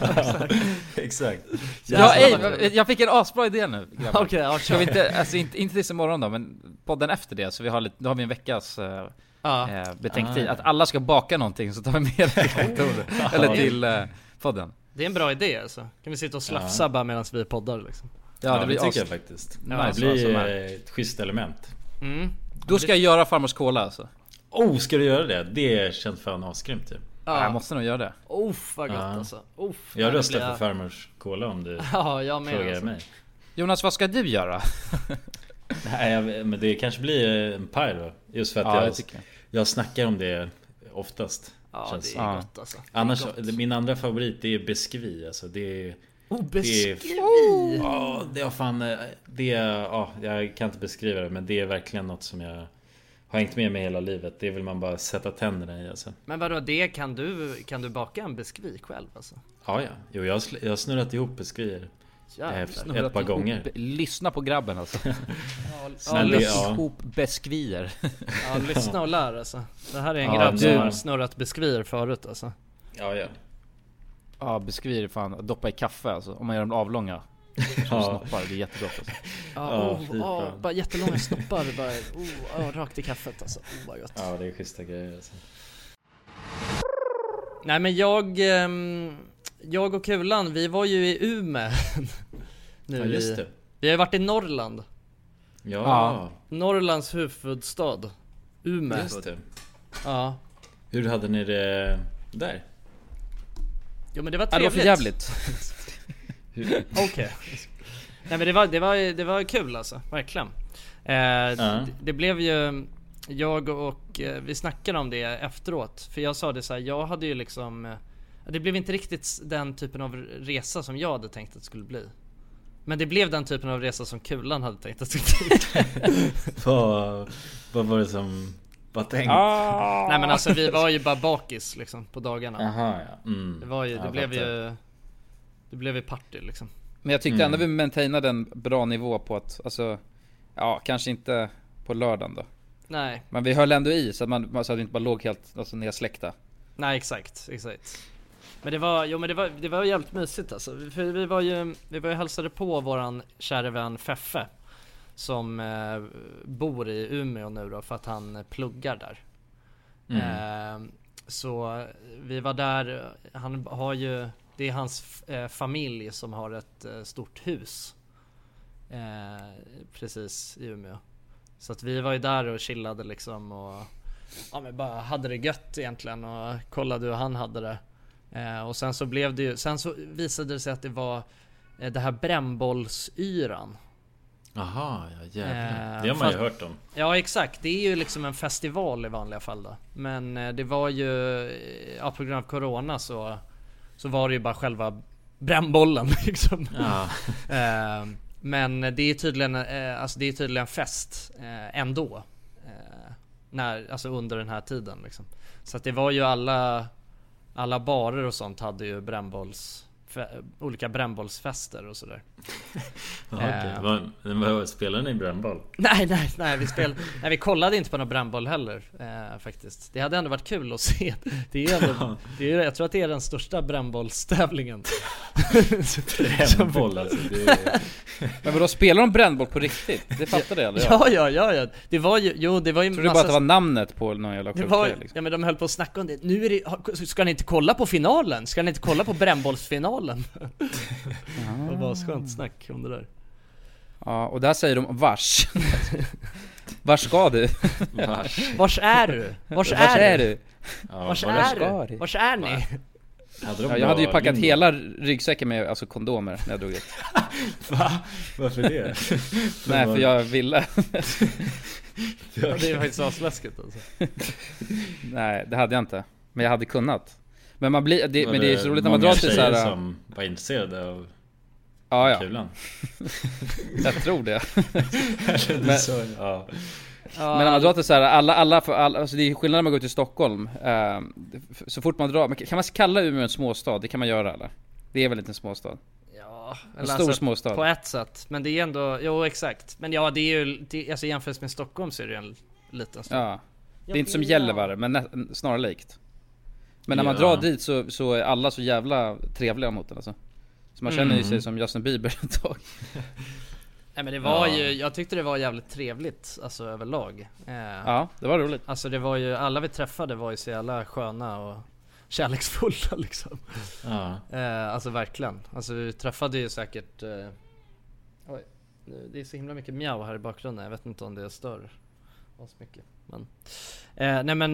A: Exakt.
B: Ja,
C: Jävlar,
B: ej,
C: vad
B: jag- jag fick en asbra idé nu grabbar.
C: Okej, ja,
B: Ska vi inte, alltså inte, inte tills imorgon då, men podden efter det så vi har lite, då har vi en veckas eh,
C: ja.
B: eh, betänktid.
A: Ah.
B: Att alla ska baka någonting så tar vi med det till kontoret. Eller till eh, podden.
C: Det är en bra idé alltså. Kan vi sitta och slafsa bara medan vi poddar liksom.
B: Ja,
A: Ja,
B: det blir
A: tycker
B: as...
A: jag faktiskt.
B: Ja,
A: det
B: alltså,
A: blir
B: som är-
A: eh, ett schysst element.
C: Mm.
B: Då ska jag göra farmors cola alltså.
A: Oh, ska du göra det? Det känns fan asgrymt typ. ju.
B: Jag
C: Ja.
B: måste nog göra det.
C: Uff vad gott
A: Ja.
C: alltså. Uff,
A: Jag
C: Ja, det
A: röstar
C: blir
A: för farmors cola om du
C: Ja, jag med
A: frågar
C: alltså.
A: mig.
B: Jonas, vad ska du göra?
A: Nej, jag- men det kanske blir en paj då. Just för att
B: Ja,
A: jag,
B: det
A: jag,
B: tycker jag.
A: snackar om det oftast.
C: Ja,
A: känns
C: det
A: det.
C: är
B: Ja.
C: gott alltså.
A: Annars, min andra favorit det är biskvi. Alltså, det är... Det är-
C: Obeskriv!
A: Ja, det har fan... eh, Det, ja, jag kan inte beskriva det men det är verkligen något som jag har hängt med mig hela livet. Det vill man bara sätta tänderna i alltså.
C: Men vadå, det kan du, kan du baka en biskvi själv alltså?
A: Ja, ja. Jo, jag har, sl- jag har snurrat ihop beskriver eh,
C: Jävlar.
A: ett par gånger.
B: Lyssna på grabben alltså.
A: Ja,
B: Lägg
A: det- ja.
B: ihop beskvier.
C: Ja, lyssna och lär alltså. Det här är en
A: Ja,
C: grabb som
A: du-
C: har snurrat biskvier förut alltså.
A: Ja, ja.
B: Ja, beskvier är fan, doppa i kaffe alltså. Om man gör dem avlånga. Som
A: Ja.
B: snoppar, det är jättegott alltså.
C: Ja,
A: Ja,
C: oh,
A: fy fan.
C: oh, bara jättelånga snoppar bara, oh, oh, rakt i kaffet alltså. Oh, vad gott.
A: ja, det är schyssta grejer alltså.
C: Nej men jag, ehm, jag och Kulan, vi var ju i Umeå nu
A: Ja, just
C: i,
A: det.
C: Vi har ju varit i Norrland.
A: Ja,
B: Ja.
C: Norrlands huvudstad. Umeå.
A: just det.
C: Ja.
A: Hur hade ni det där?
C: Jo men det var
B: Ja, det var
C: trevligt.
B: för jävligt.
C: Okej. Nej men det var, det, var, det var kul alltså, verkligen. Eh, det, det blev ju, jag och, eh, vi snackade om det efteråt. För jag sa det så här, jag hade ju liksom, eh, det blev inte riktigt s- den typen av resa som jag hade tänkt att det skulle bli. Men det blev den typen av resa som Kulan hade tänkt att det skulle bli.
A: Vad, vad var det som var tänkt?
B: Ah.
C: Nej men alltså vi var ju bara bakis liksom på dagarna.
A: Aha, ja. Mm.
C: Det var ju, det
A: jag
C: blev
A: fattar.
C: ju, det blev ju party liksom.
B: Men jag tyckte ändå vi maintainade en bra nivå på att, alltså, ja kanske inte på lördagen då.
C: Nej,
B: Men vi höll ändå i så att man, så att vi inte bara låg helt, alltså nedsläckta.
C: Nej exakt, exakt. Men det var, jo men det var, det var jävligt mysigt alltså. För vi var ju, vi var ju hälsade på våran kära vän Feffe. Som eh, bor i Umeå nu då för att han pluggar där. Eh, så vi var där, han har ju, det är hans f- eh, familj som har ett eh, stort hus. Eh, precis i Umeå. Så att vi var ju där och chillade liksom och ja, men bara hade det gött egentligen och kollade hur han hade det. Eh, och sen så blev det ju, sen så visade det sig att det var eh, det här brännbollsyran.
A: Jaha, ja jävlar.
C: Eh,
A: det har man ju
C: fast-
A: hört om.
C: Ja exakt, det är ju liksom en festival i vanliga fall då. Men eh, det var ju, eh, ja, på grund av Corona så, så var det ju bara själva brännbollen liksom.
A: Ja.
C: Eh, Men det är tydligen, eh, alltså det är tydligen fest eh, ändå. Eh, När, alltså under den här tiden liksom. Så att det var ju alla, alla barer och sånt hade ju brännbolls, fe- olika brännbollsfester och sådär.
A: Ja, okej. Vad- men vad- Spelar ni brännboll?
C: Nej, nej, nej vi, spel, nej, vi kollade inte på någon brännboll heller eh, faktiskt. Det hade ändå varit kul att se. Det är ändå, det är, jag tror att det är den största brännbollstävlingen.
A: Brännboll alltså. Det är...
B: Men vadå, spelar de brännboll på riktigt? Det fattade jag aldrig.
C: Ja, ja, ja, ja. Det var ju, jo det var ju
B: Jag trodde bara att det var namnet på någon jävla
C: det
B: sjuk
C: var,
B: grej liksom.
C: ja men de höll på att snacka om det. Nu är det, har- ska ni inte kolla på finalen? Ska ni inte kolla på brännbollsfinalen? det var bara skönt snack om det där.
B: Ja, och där säger de vars. vars ska du?
A: Vars.
C: Vars är du?
B: Vars
C: Vars är
B: är
C: du?
B: du?
A: Ja,
C: Vars
A: var-
B: ska
C: är
B: du?
C: du? Vars är ni?
A: hade de
B: Ja, jag hade ju
A: bra Mm.
B: packat
A: lingo?
B: hela ryggsäcken med alltså kondomer när jag drog dit.
A: Va? Varför det?
B: Nej, för jag ville.
C: Ja, det är faktiskt asläskigt alltså.
B: Nej, det hade jag inte. Men jag hade kunnat. Men man blir, det,
A: Var
B: men det är så roligt när man drar
A: många
B: till
A: tjejer
B: såhär...
A: som var intresserade av
B: Ja, ja,
A: kulan?
B: jag tror det.
A: Men, så, ja.
B: Men när man drar till såhär, alla, alla, för alla, alltså det är skillnad när man går till Stockholm. Eh, så fort man drar, men kan man kalla Umeå en småstad? Det kan man göra eller? Det är väl inte en småstad?
C: Ja,
B: En
C: eller alltså,
B: stor småstad.
C: På ett sätt, men det är ändå, jo exakt. Men ja det är ju, det, alltså jämfört med Stockholm så är det ju en liten stad.
B: Ja. Det är inte som Gällivare, men nä, snarlikt. Men när man
A: Ja.
B: drar dit så, så är alla så jävla trevliga mot den alltså. Så man känner ju
C: Mm.
B: sig som Justin Bieber ett tag.
C: Nej men det var ju, jag tyckte det var jävligt trevligt alltså överlag. Eh,
B: Ja, det var roligt.
C: Alltså det var ju, alla vi träffade var ju så jävla sköna och kärleksfulla liksom.
A: ja.
C: Eh, alltså verkligen. Alltså vi träffade ju säkert... Eh, oj, nu- det är så himla mycket mjau här i bakgrunden. Jag vet inte om det stör oss mycket. Men, eh, nej men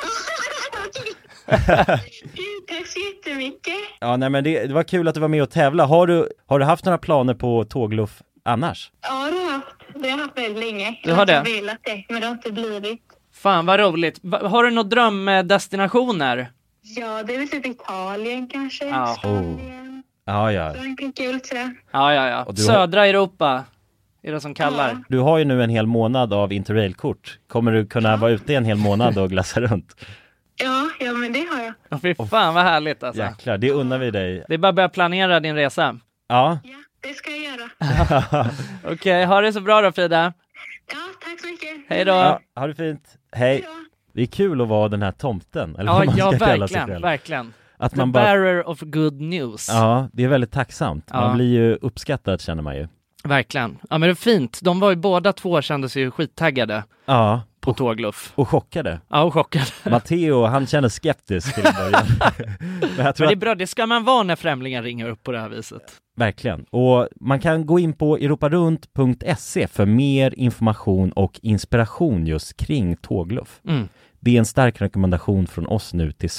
I: Tack så jättemycket.
G: Ja, nej men det, det var kul att du var med och tävla. Har du, har du haft några planer på tågluff annars?
I: Ja, det har jag haft. Det har jag haft väldigt länge.
C: Du har
I: Jag
C: det?
I: velat det, men det har inte blivit.
C: Fan vad roligt. Va- Har du några drömdestinationer?
I: Ja, det är väl typ Italien kanske.
C: Ja.
G: Oh. Ja, ja.
I: Frankrike och lite sådär.
C: Ja, ja, ja.
G: Och du har-
C: Södra Europa är det som kallar.
G: Du har ju nu en hel månad av interrailkort. Kommer du kunna vara ute i en hel månad och glassa runt?
I: Ja, ja, men det har jag.
C: Ja. Fy fan vad härligt alltså.
G: Jäklar, det unnar vi dig.
C: Det är bara att börja planera din resa.
G: Ja.
I: Det ska jag göra.
C: Okej, Eh, ha det så bra då Frida.
I: Tack så mycket.
C: Hej då.
G: ja ha det fint. Hej. Det är kul att vara den här tomten, eller
C: Ja,
G: vad man
C: ja
G: ska kalla sig
C: verkligen,
G: själv.
C: verkligen.
G: Att
C: The
G: man bara-
C: bearer of good news.
G: Ja, det är väldigt tacksamt.
C: Ja.
G: Man blir ju uppskattad känner man ju.
C: Verkligen. Ja men det är fint. De var ju båda två kände sig ju skittaggade.
G: Ja.
C: På tågluff.
G: Och chockade.
C: Ja, och chockad.
G: Matteo, han känner skeptisk till en början. Men jag tror
C: Men det är
G: att,
C: bra, det ska man vara när främlingar ringer upp på det här viset.
G: verkligen. Och man kan gå in på europarunt.se E för mer information och inspiration just kring tågluff.
C: Mm.
G: Det är en stark rekommendation från oss nu till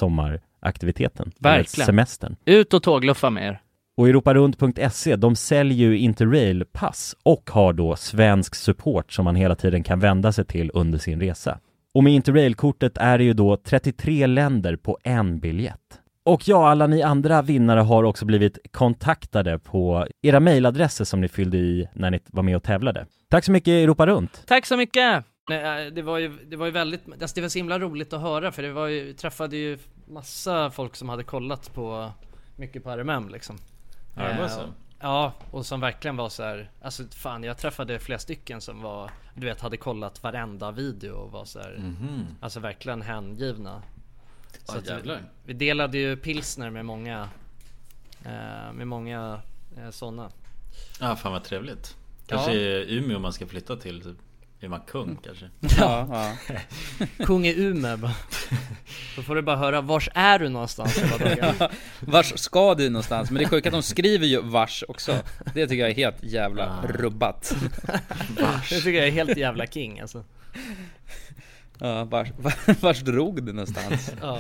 G: sommaraktiviteten. eller
C: Verkligen.
G: Semestern.
C: Ut och tågluffa med er.
G: Och europarunt.se, E, de säljer ju Interrail-pass och har då svensk support som man hela tiden kan vända sig till under sin resa. Och med Interrail-kortet är det ju då 33 länder på en biljett. Och ja, alla ni andra vinnare har också blivit kontaktade på era mejladresser som ni fyllde i när ni var med och tävlade. Tack så mycket Europa Runt!
C: Tack så mycket! Nej, eh, Det var ju, det var ju väldigt, alltså det var så himla roligt att höra för det var ju, vi träffade ju massa folk som hade kollat på mycket på RMM liksom.
A: Ja, det var
C: Eh,
A: så.
C: Ja, och som verkligen var så här, alltså fan jag träffade flera stycken som var, du vet hade kollat varenda video och var så här,
A: Mhm.
C: alltså verkligen hängivna.
A: Ja, jävlar.
C: vi delade ju pilsner med många, eh, med många eh, sådana.
A: Ja, fan vad trevligt. Kanske
C: Ja.
A: i Umeå man ska flytta till. Typ. Är man kung kanske?
C: Ja, Kung i Umeå bara. Då får du bara höra, vars är du någonstans hela dagen?
B: Vars ska du någonstans? Men det är sjukt att de skriver ju vars också. Det tycker jag är helt jävla
C: Ah.
B: rubbat.
C: Det tycker jag är helt jävla king alltså.
B: Ja, vars, vars drog du någonstans?
C: Ja.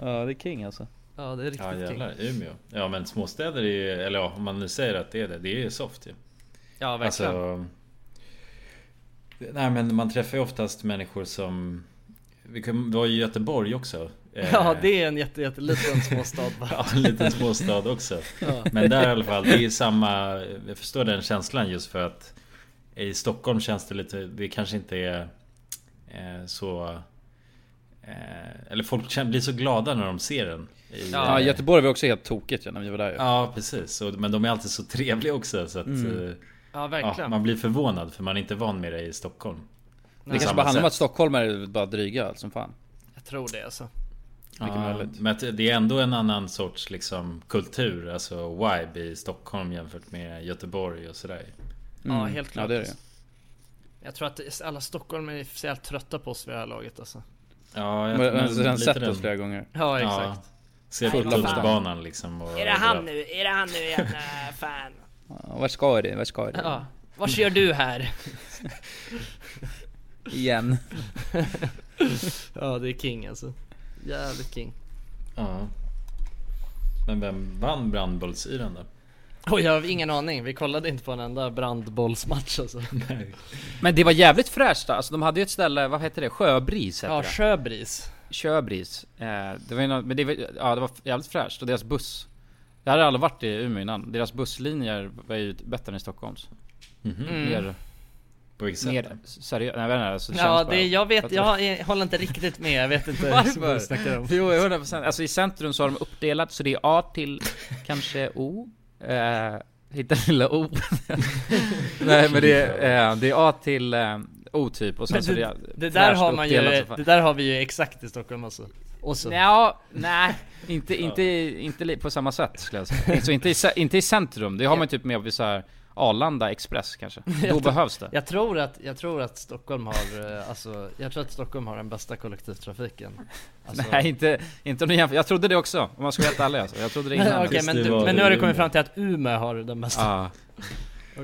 B: Ja, det är king alltså.
C: Ja, det är riktigt
A: Ja jävlar,
C: king.
A: Umeå. Ja men småstäder är ju, eller ja om man nu säger att det är det, det är ju soft ju.
C: Ja, verkligen.
A: Alltså, nej men man träffar ju oftast människor som... Vi kom- var ju i Göteborg också. Eh,
C: Ja, det är en jätte, jätteliten småstad bara.
A: Ja, en liten småstad också.
C: Ja.
A: Men där i alla fall, det är ju samma... Jag förstår den känslan just för att i Stockholm känns det lite... Det kanske inte är eh, så... Eh, eller folk känner, blir så glada när de ser den. I,
B: Ja,
A: eh,
B: Göteborg var också helt tokigt ja, när vi var där ju.
A: Ja precis, Och- men de är alltid så trevliga också så att
B: Mm.
A: eh,
C: Ja, verkligen.
A: man blir förvånad för man är inte van med det i Stockholm
B: Det kanske
A: liksom.
B: bara handlar om att stockholmare är bara dryga som fan.
C: Jag tror det alltså.
B: Mycket
A: ja,
B: möjligt.
A: Men att det är ändå en annan sorts liksom, kultur, alltså vibe i Stockholm jämfört med Göteborg och sådär
C: Ja,
B: Mm.
C: helt klart. alltså. Jag tror att alla stockholmare är så jävla trötta på oss vid det här laget alltså.
A: Ja,
B: Men- men så den
A: lite
B: sett oss flera gånger.
C: Ja, exakt.
A: Ser på
C: Nej, vad fan.
A: tunnelbanan liksom och
C: Är det han nu? Är det han nu igen? Nej, fan.
B: Ja, vart ska du? Vart ska du?
C: Ja. Vad gör du här?
B: Igen.
C: ja, det är king alltså. Jävligt king.
A: Ja. Men vem vann brandbollsyran då?
C: Och jag har ingen aning, vi kollade inte på en enda brandbollsmatch alltså.
B: Men det var jävligt fräscht alltså, de hade ju ett ställe, vad heter det? Sjöbris heter
C: Ja,
B: det.
C: Sjöbris.
B: Sjöbris. Eh, det var ju något, men det var, ja, det var jävligt fräscht och deras buss. Jag hade aldrig varit i Umeå innan. Deras busslinjer var ju bättre än i Stockholms. Mhm.
C: Mm.
B: Mer...
A: På vilket
B: sätt? Mer seriöst, nej jag vet inte. Alltså, det känns
C: Ja, det,
B: bara-
C: jag vet,
B: att-
C: jag, jag håller inte riktigt med, jag vet inte vad du snackar
B: Varför?
C: om.
B: Jo, 100 procent. Alltså i centrum så har de uppdelat så det är A till kanske O. Eh, hitta lilla O. Nej men det är, eh, det är A till eh, O typ och sen
C: Men
B: så är
C: det,
B: det
C: det där
B: fräscht
C: har man ju,
B: uppdelat som fan.
C: det där har vi ju exakt i Stockholm alltså. Och så.
B: Ja, nej, inte, inte, inte li- på samma sätt skulle jag säga. Så inte i, ce- inte i centrum, det har man typ med vid så här Arlanda Express kanske.
C: Jag
B: Då
C: tror-
B: behövs det.
C: Jag tror att, jag tror att Stockholm har, eh, alltså, jag tror att Stockholm har den bästa kollektivtrafiken. Alltså,
B: Nej inte, inte om du jämför. Jag trodde det också, om man ska vara helt ärlig alltså. Jag trodde det innan.
C: Okej men, du, men nu har du kommit fram till att Umeå har den bästa.
B: Ja.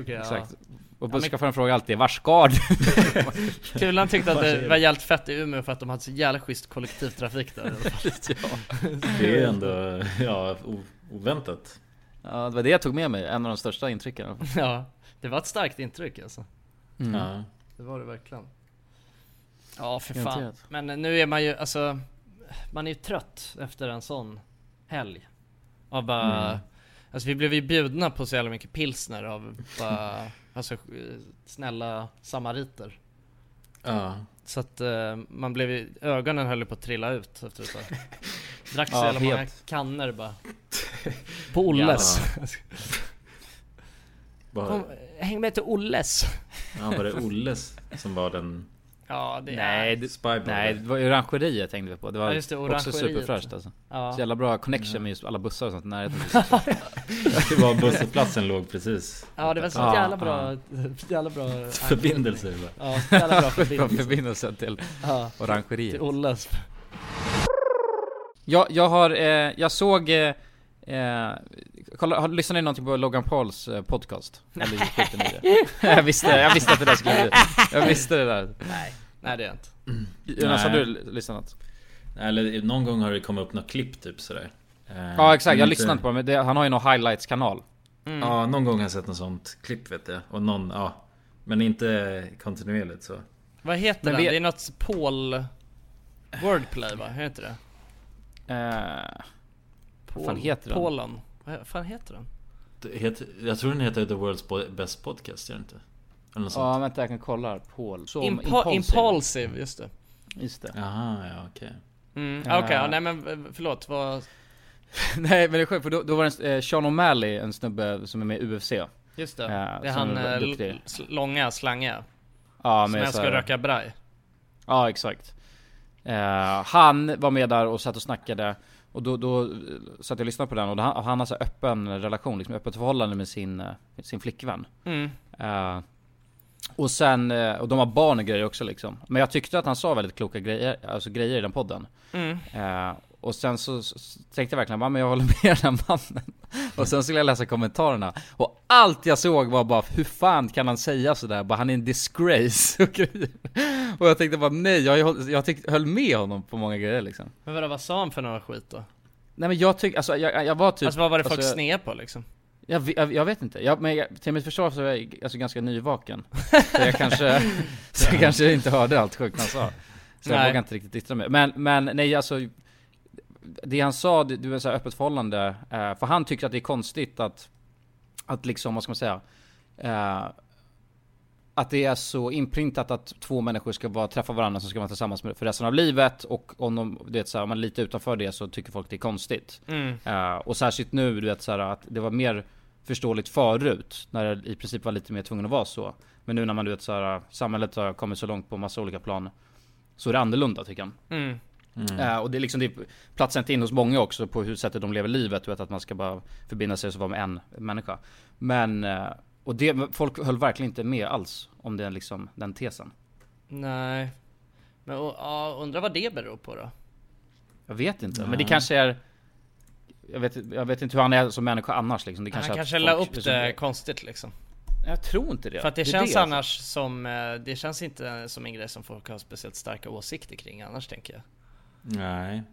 C: Okej,
B: Exakt.
C: Ja,
B: Och
C: men-
B: busschauffören frågar alltid var ska du?
C: Kulan tyckte att
B: Vad
C: det
B: säger
C: var
B: du?
C: jävligt fett i Umeå för att de hade så jävla schysst kollektivtrafik där i alla fall.
A: Det är ju ändå ja, o- oväntat.
B: Ja, det var det jag tog med mig. En av de största intrycken. i alla fall.
C: Ja, det var ett starkt intryck alltså.
B: Mm.
A: Ja.
C: Det var det verkligen. Ja, för fan.
B: Garanterat.
C: Men nu är man ju, alltså, man är ju trött efter en sån helg. Av bara,
B: Mm.
C: alltså vi blev ju bjudna på så jävla mycket pilsner av bara, alltså eh, snälla samariter.
A: Ja.
C: Så att eh, man blev ju, ögonen höll ju på att trilla ut efter ett tag. Drack så
B: Ja,
C: jävla många
B: helt.
C: kannor bara. På Olles.
A: Var,
C: Kom, häng med till Olles.
A: ja, var det Olles som var den?
C: Ja, det är...
B: Nej, det,
A: Spybar.
B: nej, det var ju orangeriet tänkte vi på. Det var
C: Ja, just det,
B: också
C: orangeriet.
B: superfräscht alltså.
C: Ja.
B: Så jävla bra connection med just alla bussar och sånt i närheten.
A: Det var busshållplatsen låg precis.
C: Ja det var så
B: Ja,
C: jävla bra, jävla bra
A: Förbindelser
C: anknytning.
A: bara.
C: Ja, jävla bra
B: Från
C: förbindelser
B: förbindelsen till
C: Ja. Till
B: orangeriet.
C: Olles
B: Jag, jag har, eh, jag såg, eh, eh, kolla, har, lyssnade ni någonting på Logan Pauls eh, podcast? Eller skiter ni i det? jag visste, jag visste att det där skulle bli, jag visste det där.
C: Nej, nej det är inte
B: Jonas har
A: Nej.
B: du l- lyssnat?
A: Eller någon gång har det kommit upp något klipp typ sådär. Eh,
B: Ja exakt, jag
A: men
B: lyssnade inte på Mm. det, men det, han har ju någon highlights kanal.
A: Ja, någon gång har jag sett något sånt klipp vet jag. Och någon, ja. Men inte kontinuerligt så.
C: Vad heter
B: Men
C: den?
B: vi-
C: Det är något Paul Wordplay va? Heter det?
B: Eh,
C: Paul...
B: fan heter den?
C: Polon Vad fan heter den?
A: Det heter, jag tror den heter The World's Bo- Best Podcast, gör den inte? Eller något
B: Ja
A: sånt.
B: vänta jag kan kolla här, Paul. Som
C: Impo-
B: impulsive.
C: impulsive. just det
B: Just det.
A: Jaha, ja okej.
C: mm, Okej,
B: Ah.
C: ja, nej men eh, förlåt vad...
B: Nej men det är sjukt för då, då var det en, eh, Sean O'Malley, en snubbe som är med i UFC. Ja,
C: Just det,
B: Ja,
C: det
B: som
C: är han
B: är
C: eh, l-
B: duktig.
C: sl- långa, slangiga
B: ah,
C: Som älskar att röka braj
B: Ja, exakt. Eh, han var med där och satt och snackade. Och då, då eh, satt jag och lyssnade på den och han, han har så här öppen relation, liksom öppet förhållande med sin, eh, med sin flickvän.
C: Mm.
B: Eh, och sen, eh, och de har barn och grejer också liksom. Men jag tyckte att han sa väldigt kloka grejer, alltså grejer i den podden.
C: Mm.
B: Eh, och sen så, så tänkte jag verkligen bara, men jag håller med den här mannen. Och sen skulle jag läsa kommentarerna. Och allt jag såg var bara, hur fan kan han säga sådär? Bara, han är en disgrace och grejer. Och jag tänkte bara, nej, jag, höll- jag tyck, höll med honom på många grejer liksom.
C: Men vadå, vad sa han för några skit då?
B: Nej men jag tyckte, alltså jag, jag var typ...
C: alltså vad var det folk
B: alltså, jag-
C: sne på liksom?
B: jag, ve- jag, jag vet inte, jag, men jag, till mitt försvar så är jag alltså ganska nyvaken. Så jag kanske, så jag kanske inte hörde allt sjukt han sa. Så jag
C: Nej.
B: vågar inte riktigt yttra mig. Men, men nej alltså, det han sa, det, det var så här öppet förhållande. Eh, för han tyckte att det är konstigt att, att liksom, vad ska man säga? Eh, att det är så inprintat att två människor ska vara, träffa varandra så ska man tillsammans med för resten av livet. Och om de, du vet så här, om man är lite utanför det så tycker folk det är konstigt.
C: Mm.
B: Eh, och särskilt nu, du vet så här, att det var mer förståeligt förut. När det i princip var lite mer tvungen att vara så. Men nu när man du vet så här, samhället har kommit så långt på massa olika plan. Så är det annorlunda tycker han.
C: Mm.
B: Eh, och det är liksom, det platsar inte in hos många också på hur sättet de lever livet. Du vet att man ska bara förbinda sig och så vara med en människa. Men, eh, och det, folk höll verkligen inte med alls om den liksom, den tesen.
C: Nej Men och, ja, undrar vad det beror på då?
B: Jag vet inte, men det
A: Nej.
B: kanske är... Jag vet, jag vet inte hur han är som människa annars liksom. Det kanske
C: han
B: är att
C: kanske la
B: folk-
C: upp det konstigt liksom.
B: Jag tror inte det.
C: För att det,
B: är
C: känns
B: alltså.
C: annars som, eh, det känns inte som en grej som folk har speciellt starka åsikter kring annars tänker jag.
A: Nej.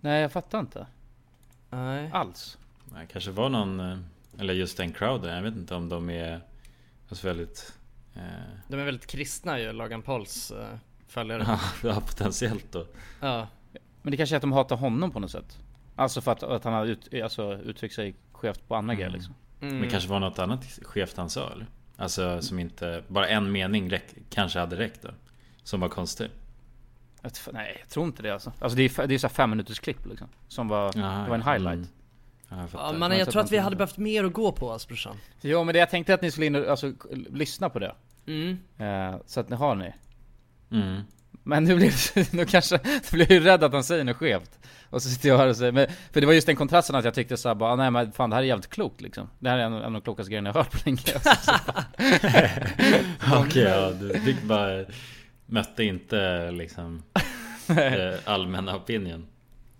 B: Nej jag fattar inte
C: Nej.
B: alls.
A: Nej, kanske var någon eh, Eller just den crowden, jag vet inte om de är alltså väldigt... Eh,
C: De är väldigt kristna ju, Logan Pauls eh, följare.
A: ja, ja, potentiellt då.
C: Ja.
B: Men det kanske är att de hatar honom på något sätt. Alltså för att, att han har ut, alltså, uttryckt sig skevt på andra grejer
C: Mm.
B: liksom.
A: Men det kanske var något annat skevt han sa eller? Alltså som inte... Bara en mening räck, kanske hade räckt då. Som var konstig.
B: Jag tr- nej, jag tror inte det alltså. Alltså det är, f- det är så här fem minuters klipp liksom. Som var, det var en
A: Mm.
B: highlight.
C: Mm. Ja, men jag tror att vi hade behövt mer att gå på alltså brorsan.
B: Jo men det jag tänkte att ni skulle in och, alltså, k- lyssna på det.
C: Mm.
B: Eh, så att ni har ni.
A: Mm.
B: Men nu blev nu kanske, nu blev jag ju rädd att han säger något skevt. Och så sitter jag här och säger, men, för det var just den kontrasten att jag tyckte såhär bara, ah, nej men fan det här är jävligt klokt liksom. Det här är en, en av de klokaste grejerna jag har hört på länge. Alltså,
A: Okej, ja, du fick bara... Mötte inte liksom eh, allmänna opinion.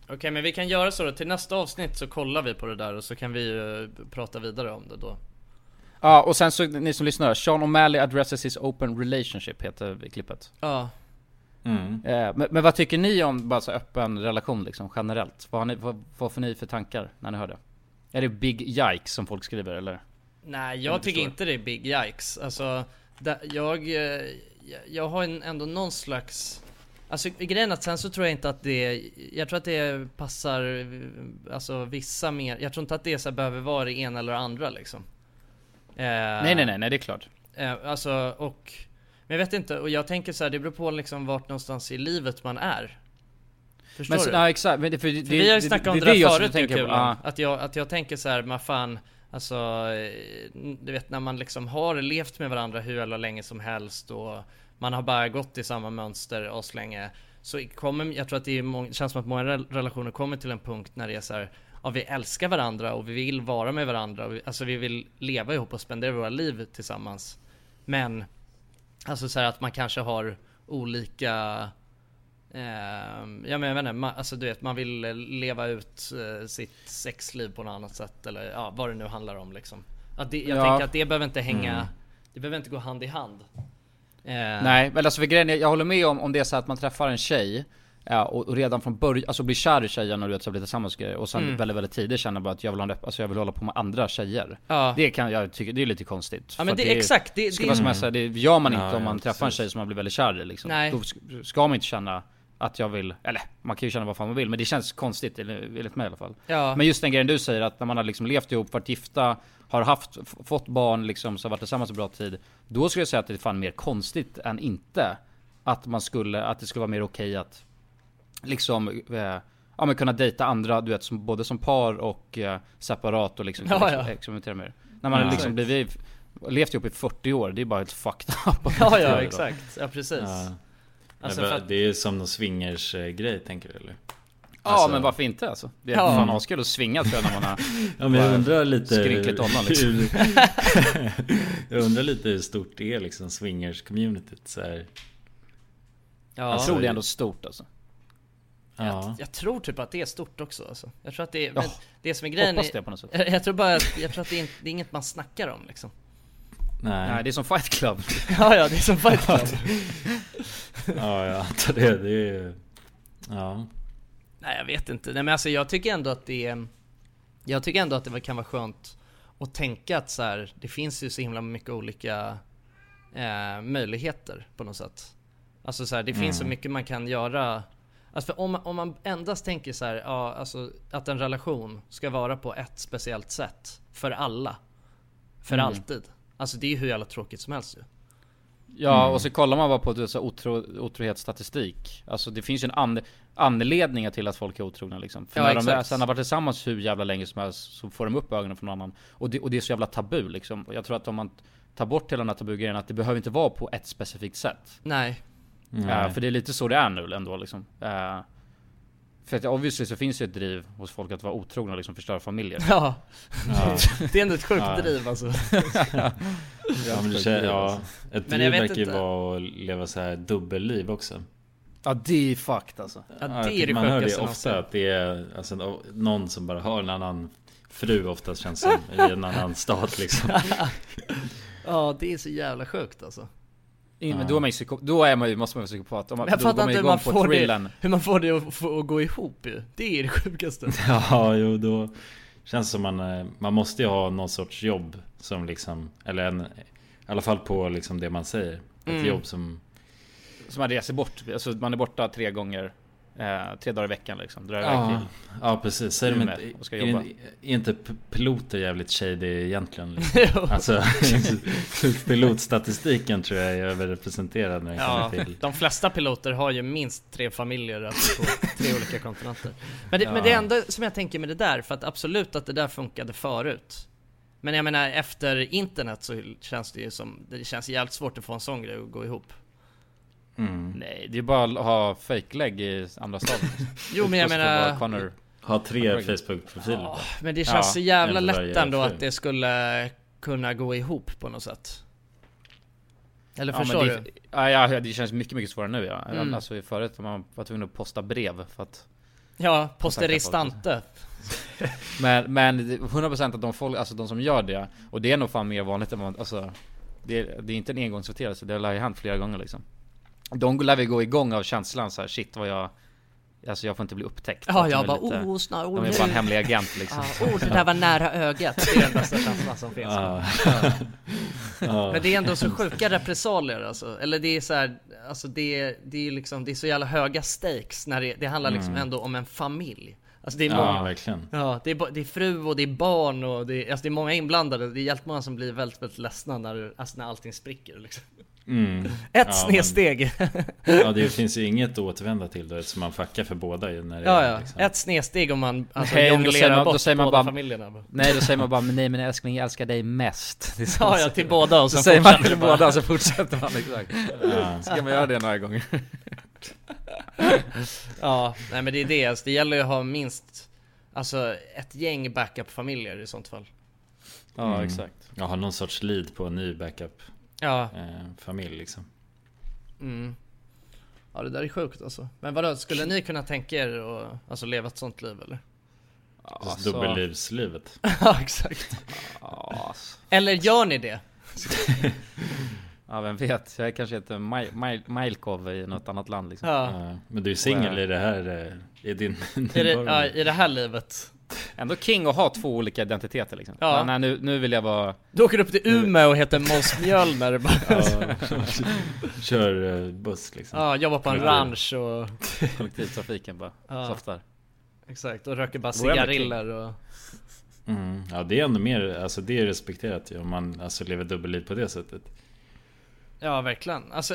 C: Okej men vi kan göra så då, till nästa avsnitt så kollar vi på det där och så kan vi ju prata vidare om det då.
B: Ja och sen så ni som lyssnar, Sean O'Malley addresses his open relationship heter klippet.
C: Ja.
A: Mm.
B: Eh, men, men vad tycker ni om bara så här öppen relation liksom generellt? Vad, har ni, vad, vad får ni för tankar när ni hör det? Är det big yikes som folk skriver eller?
C: Nej
B: Jag
C: jag tycker
B: förstår.
C: inte det är big yikes. Alltså, da- jag, eh, jag- jag har en, ändå någon slags... Alltså grejen är att sen så tror jag inte att det, jag tror att det passar eh, alltså vissa mer, jag tror inte att det så här behöver vara det ena eller det andra liksom.
B: Nej nej nej, nej det är klart.
C: Eh, alltså och, men jag vet inte, och jag tänker så här, det beror på liksom vart någonstans i livet man är. Förstår
B: så-
C: du?
B: Ja exakt, men det, för, det,
C: För vi har ju snackat om det,
B: är
C: där
B: jag som
C: förut,
B: tänker
C: tänker
B: på- ja.
C: att, jag, att jag tänker så här, man fan, alltså, eh, du vet när man liksom har levt med varandra hur jävla länge som helst och man har bara gått i samma mönster aslänge. Så kommer, jag tror att det är mång- känns som att många rel- relationer kommer till en punkt när det är så här, ja vi älskar varandra och vi vill vara med varandra, och vi, alltså vi vill leva ihop och spendera våra liv tillsammans. Men, alltså så här att man kanske har olika Ehm, ja men jag vet inte, man, alltså du vet man vill eh, leva ut eh, sitt sexliv på något annat sätt eller ja vad det nu handlar om liksom. Att det, jag
B: Ja.
C: tänker att det behöver inte hänga,
B: Mm.
C: det behöver inte gå hand i hand. Eh,
B: Nej, men alltså för grejen är, jag håller med om, om det är så här att man träffar en tjej ja, och, och redan från början, alltså blir kär i tjejen och du vet så blir tillsammans och grejer, och sen
C: Mm.
B: väldigt väldigt tidigt känner bara att jag vill, ha en öpp- alltså jag vill hålla på med andra tjejer.
C: Ja.
B: Det kan jag tycka, det är lite konstigt.
C: Ja,
B: För
C: men
B: att
C: det-
B: är-
C: exakt, det-
B: skulle
C: det-
B: vara som jag säger, det gör man inte
A: Mm. Ja,
B: om man
A: ja,
B: träffar en
A: precis.
B: tjej som man blir väldigt kär i liksom.
C: Nej.
B: Då sk- ska man inte känna att jag vill, eller man kan ju känna vad fan man vill men det känns konstigt eller- enligt mig i alla fall.
C: Ja.
B: Men just den grejen du säger att när man har liksom levt ihop, varit gifta, har haft, f- fått barn liksom, så har varit tillsammans en bra tid. Då skulle jag säga att det är fan mer konstigt än inte. Att man skulle, att det skulle vara mer okej att liksom, eh, ja men kunna dejta andra, du vet som, både som par och eh, separat och liksom
C: Ja,
B: kunna
C: ja.
B: ex- experimentera mer. När man
C: Ja.
B: har liksom blivit, levt ihop i 40 år, det är bara helt fucked up.
C: Ja ja exakt, ja precis.
A: Ja.
C: Alltså,
A: det,
C: för
A: var-
C: att-
A: det är ju som någon swingers eh, grej tänker du eller?
B: Ja
A: Alltså-
B: men varför inte alltså? Det är
C: Ja.
B: fan askul att svinga tror jag när man har
A: Ja men jag
B: bara
A: undrar lite
B: skrynkligt ollon liksom.
A: hur, Jag undrar lite hur stort det är liksom swingers communityt så här.
C: Ja.
B: Jag tror det är ändå stort alltså.
A: Ja.
C: Jag tror typ att det är stort också alltså. Jag tror att det är,
B: Ja.
C: men det som är grejen
B: Hoppas
C: är-
B: det på något sätt.
C: Jag, jag tror bara att, jag tror att det är, in- det är inget man snackar om liksom.
A: Nej.
B: Nej det är som Fight Club.
C: Ja ja, det är som Fight Club.
A: Ja jag antar det. Det är ju... Ja.
C: Nej jag vet inte, nej men alltså jag tycker ändå att det är, Jag tycker ändå att det kan vara skönt att tänka att så här, det finns ju så himla mycket olika eh, möjligheter på något sätt. Alltså så här, det finns
A: Mm.
C: så mycket man kan göra. Alltså för om, om man endast tänker så här, ja, alltså att en relation ska vara på ett speciellt sätt för alla. För
B: Mm.
C: alltid. Alltså det är ju hur jävla tråkigt som helst ju.
B: Ja,
C: Mm.
B: och så kollar man bara på det, så otro, otrohetsstatistik. Alltså det finns ju en an, anledning till att folk är otrogna liksom. För
C: Ja,
B: när de
C: exakt.
B: väl- sen har varit tillsammans hur jävla länge som helst så får de upp ögonen för någon annan. Och det, och det är så jävla tabu liksom. Och Jag tror att om man tar bort hela den här tabugrejen att det behöver inte vara på ett specifikt sätt.
C: Nej.
B: Eh, för det är lite så det är nu ändå liksom. Eh, för att obviously så finns ju ett driv hos folk att vara otrogna liksom, förstöra familjer.
C: Ja.
A: Ja.
C: Det är ändå ett sjukt
A: Ja.
C: driv alltså.
A: Ja, men det känns, ja. Ett
C: Men
A: driv
C: jag vet
A: verkar ju
C: inte.
A: vara att leva så här dubbelliv också.
B: Ja det är fucked alltså.
C: Ja,
A: Ja, jag
C: det är
A: tycker
C: det
A: man hör det
C: sjukaste
A: ofta
C: någonsin.
A: att det är alltså, en- någon som bara har en annan fru oftast känns som i en annan stat liksom.
C: Ja det är så jävla sjukt alltså.
B: In, men då är man ju psyko- då är man ju, måste man vara psykopat. Om man,
C: Men jag
B: då går
C: fattar inte hur
B: igång
C: man,
B: på
C: får
B: thrillen.
C: det, hur man får det att, få, att gå ihop ju. Det är det sjukaste.
A: Ja, jo då. Känns som man, eh, man måste ju ha någon sorts jobb som liksom, eller en, i alla fall på liksom det man säger. Ett
B: Mm.
A: jobb som,
B: Så man reser bort, alltså man är borta tre gånger, eh, tre dagar i veckan liksom. Drar iväg
A: ja,
B: till
A: ja precis. Säger de
B: Umeå
A: inte,
B: och ska
A: är,
B: jobba.
A: är inte p- piloter jävligt shady egentligen? Liksom? alltså pilotstatistiken tror jag är överrepresenterad när det
C: Ja,
A: kommer till
C: de flesta piloter har ju minst tre familjer alltså, på tre olika kontinenter. Men det, men
A: Ja.
C: det enda som jag tänker med det där, för att absolut att det där funkade förut. Men jag menar efter internet så känns det ju som, det känns jävligt svårt att få en sån grej att gå ihop.
B: Nej, det är bara att ha fejklägg i andra staden.
C: Jo, men jag
B: Just det,
C: menar-
B: bara Connor.
A: Ha tre
B: Connor-
A: Facebook-profiler bara.
C: Men det känns så
A: Ja,
C: jävla
A: en för varje
C: lätt ändå
A: fru.
C: att det skulle kunna gå ihop på något sätt. Eller
B: Ja, men
C: förstår
B: det,
C: du?
B: Ja, ja, det känns mycket, mycket svårare nu ja.
C: Mm.
B: Alltså förut var man var tvungen att posta brev för att
C: Ja,
B: kontakta folk.
C: posteristante.
B: Men, men det- 100% att de folk, alltså de som gör det Och det är nog fan mer vanligt än man, alltså det, det är inte en engångsföreteelse, det lär ju hänt flera gånger liksom De lär väl gå igång av känslan så här, shit vad jag Alltså jag får inte bli upptäckt
C: Ja,
B: Att de
C: jag
B: är
C: bara, oh, snar- oh,
B: De är
C: nu.
B: bara en hemlig agent liksom
C: Ja, oh, det där var nära ögat. Det är den bästa känslan som finns.
B: Ja.
A: Ja.
C: Men det är ändå så sjuka repressalier alltså. Eller det är så här, alltså det är, det är ju liksom, det är så jävla höga stakes när det, det handlar liksom
A: Mm.
C: ändå om en familj. Alltså det är
A: Ja,
C: många.
A: verkligen.
C: Ja, det är, ba- det är fru och det är barn och det är, alltså det är många inblandade. Det är jävligt många som blir väldigt, väldigt ledsna när, alltså när allting spricker liksom.
A: Mm.
C: Ett
A: Ja,
C: snedsteg.
A: Men, ja det finns ju inget att återvända till då eftersom man fuckar för båda ju när det
C: Ja,
A: är liksom.
C: ja. Ett snedsteg om man alltså,
B: Nej, då säger
C: jonglerar
B: man,
C: bort
B: då säger man
C: båda
B: bara,
C: familjerna.
B: Nej då säger man bara men nej men älskling jag älskar dig mest Det är så-
C: Ja, typ. ja, till båda och
B: så
C: sen
B: säger man
C: fortsätter
B: till
C: det bara.
B: båda och så fortsätter man exakt
C: Ja.
B: Ska man göra det några gånger?
C: Ja, nej men det är det. Alltså, det gäller ju att ha minst Alltså ett gäng backup-familjer i sånt fall.
B: Ja, exakt.
A: Jag har någon sorts lead på en ny backup
C: Ja.
A: eh, familj liksom.
C: Mm. Ja det där är sjukt alltså. Men vadå, skulle ni kunna tänka er att alltså, leva ett sånt liv eller?
A: Alltså. Dubbellivslivet.
C: ja exakt. Eller gör ni det?
B: Ja vem vet, jag är kanske heter Maj- Maj- Majlkov i något annat land liksom
C: Ja.
A: Ja, Eh, Men du är singel i det här, eh, i din
C: I det, ja, i det här livet.
B: Ändå king att ha två olika identiteter liksom
C: Ja.
B: ja. Nej, nu, nu vill jag vara
C: Du åker upp till Umeå och heter Måns Mjölner bara.
A: Ja, kör eh, buss liksom.
C: Ja, jobbar på en
A: Kollektiv.
C: ranch och...
B: Kollektivtrafiken bara,
C: Ja.
B: softar
C: Exakt, och röker bara
B: Vore ändå
C: cigariller och...
A: Mm. Ja det är ändå mer, alltså det är respekterat ju om man alltså lever dubbelliv på det sättet.
C: Ja, verkligen. Alltså,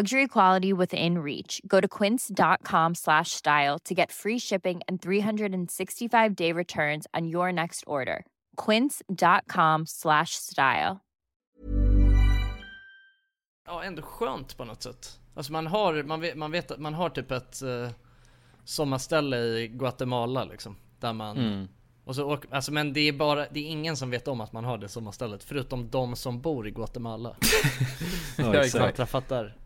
D: Luxury quality within reach. Go to quince.com slash style to get free shipping and 365 day returns on your next order. Quince.com slash style.
C: ja, ändå skönt på något sätt. Alltså man har, man vet, man vet att man har typ ett eh, sommarställe i Guatemala liksom. Där man...
B: Mm.
C: Och så åker, alltså men det är bara, det är ingen som vet om att man har det sommarstället. Förutom de som bor i Guatemala.
A: Ja,
C: Jag har
A: exakt.
C: knappt träffat där.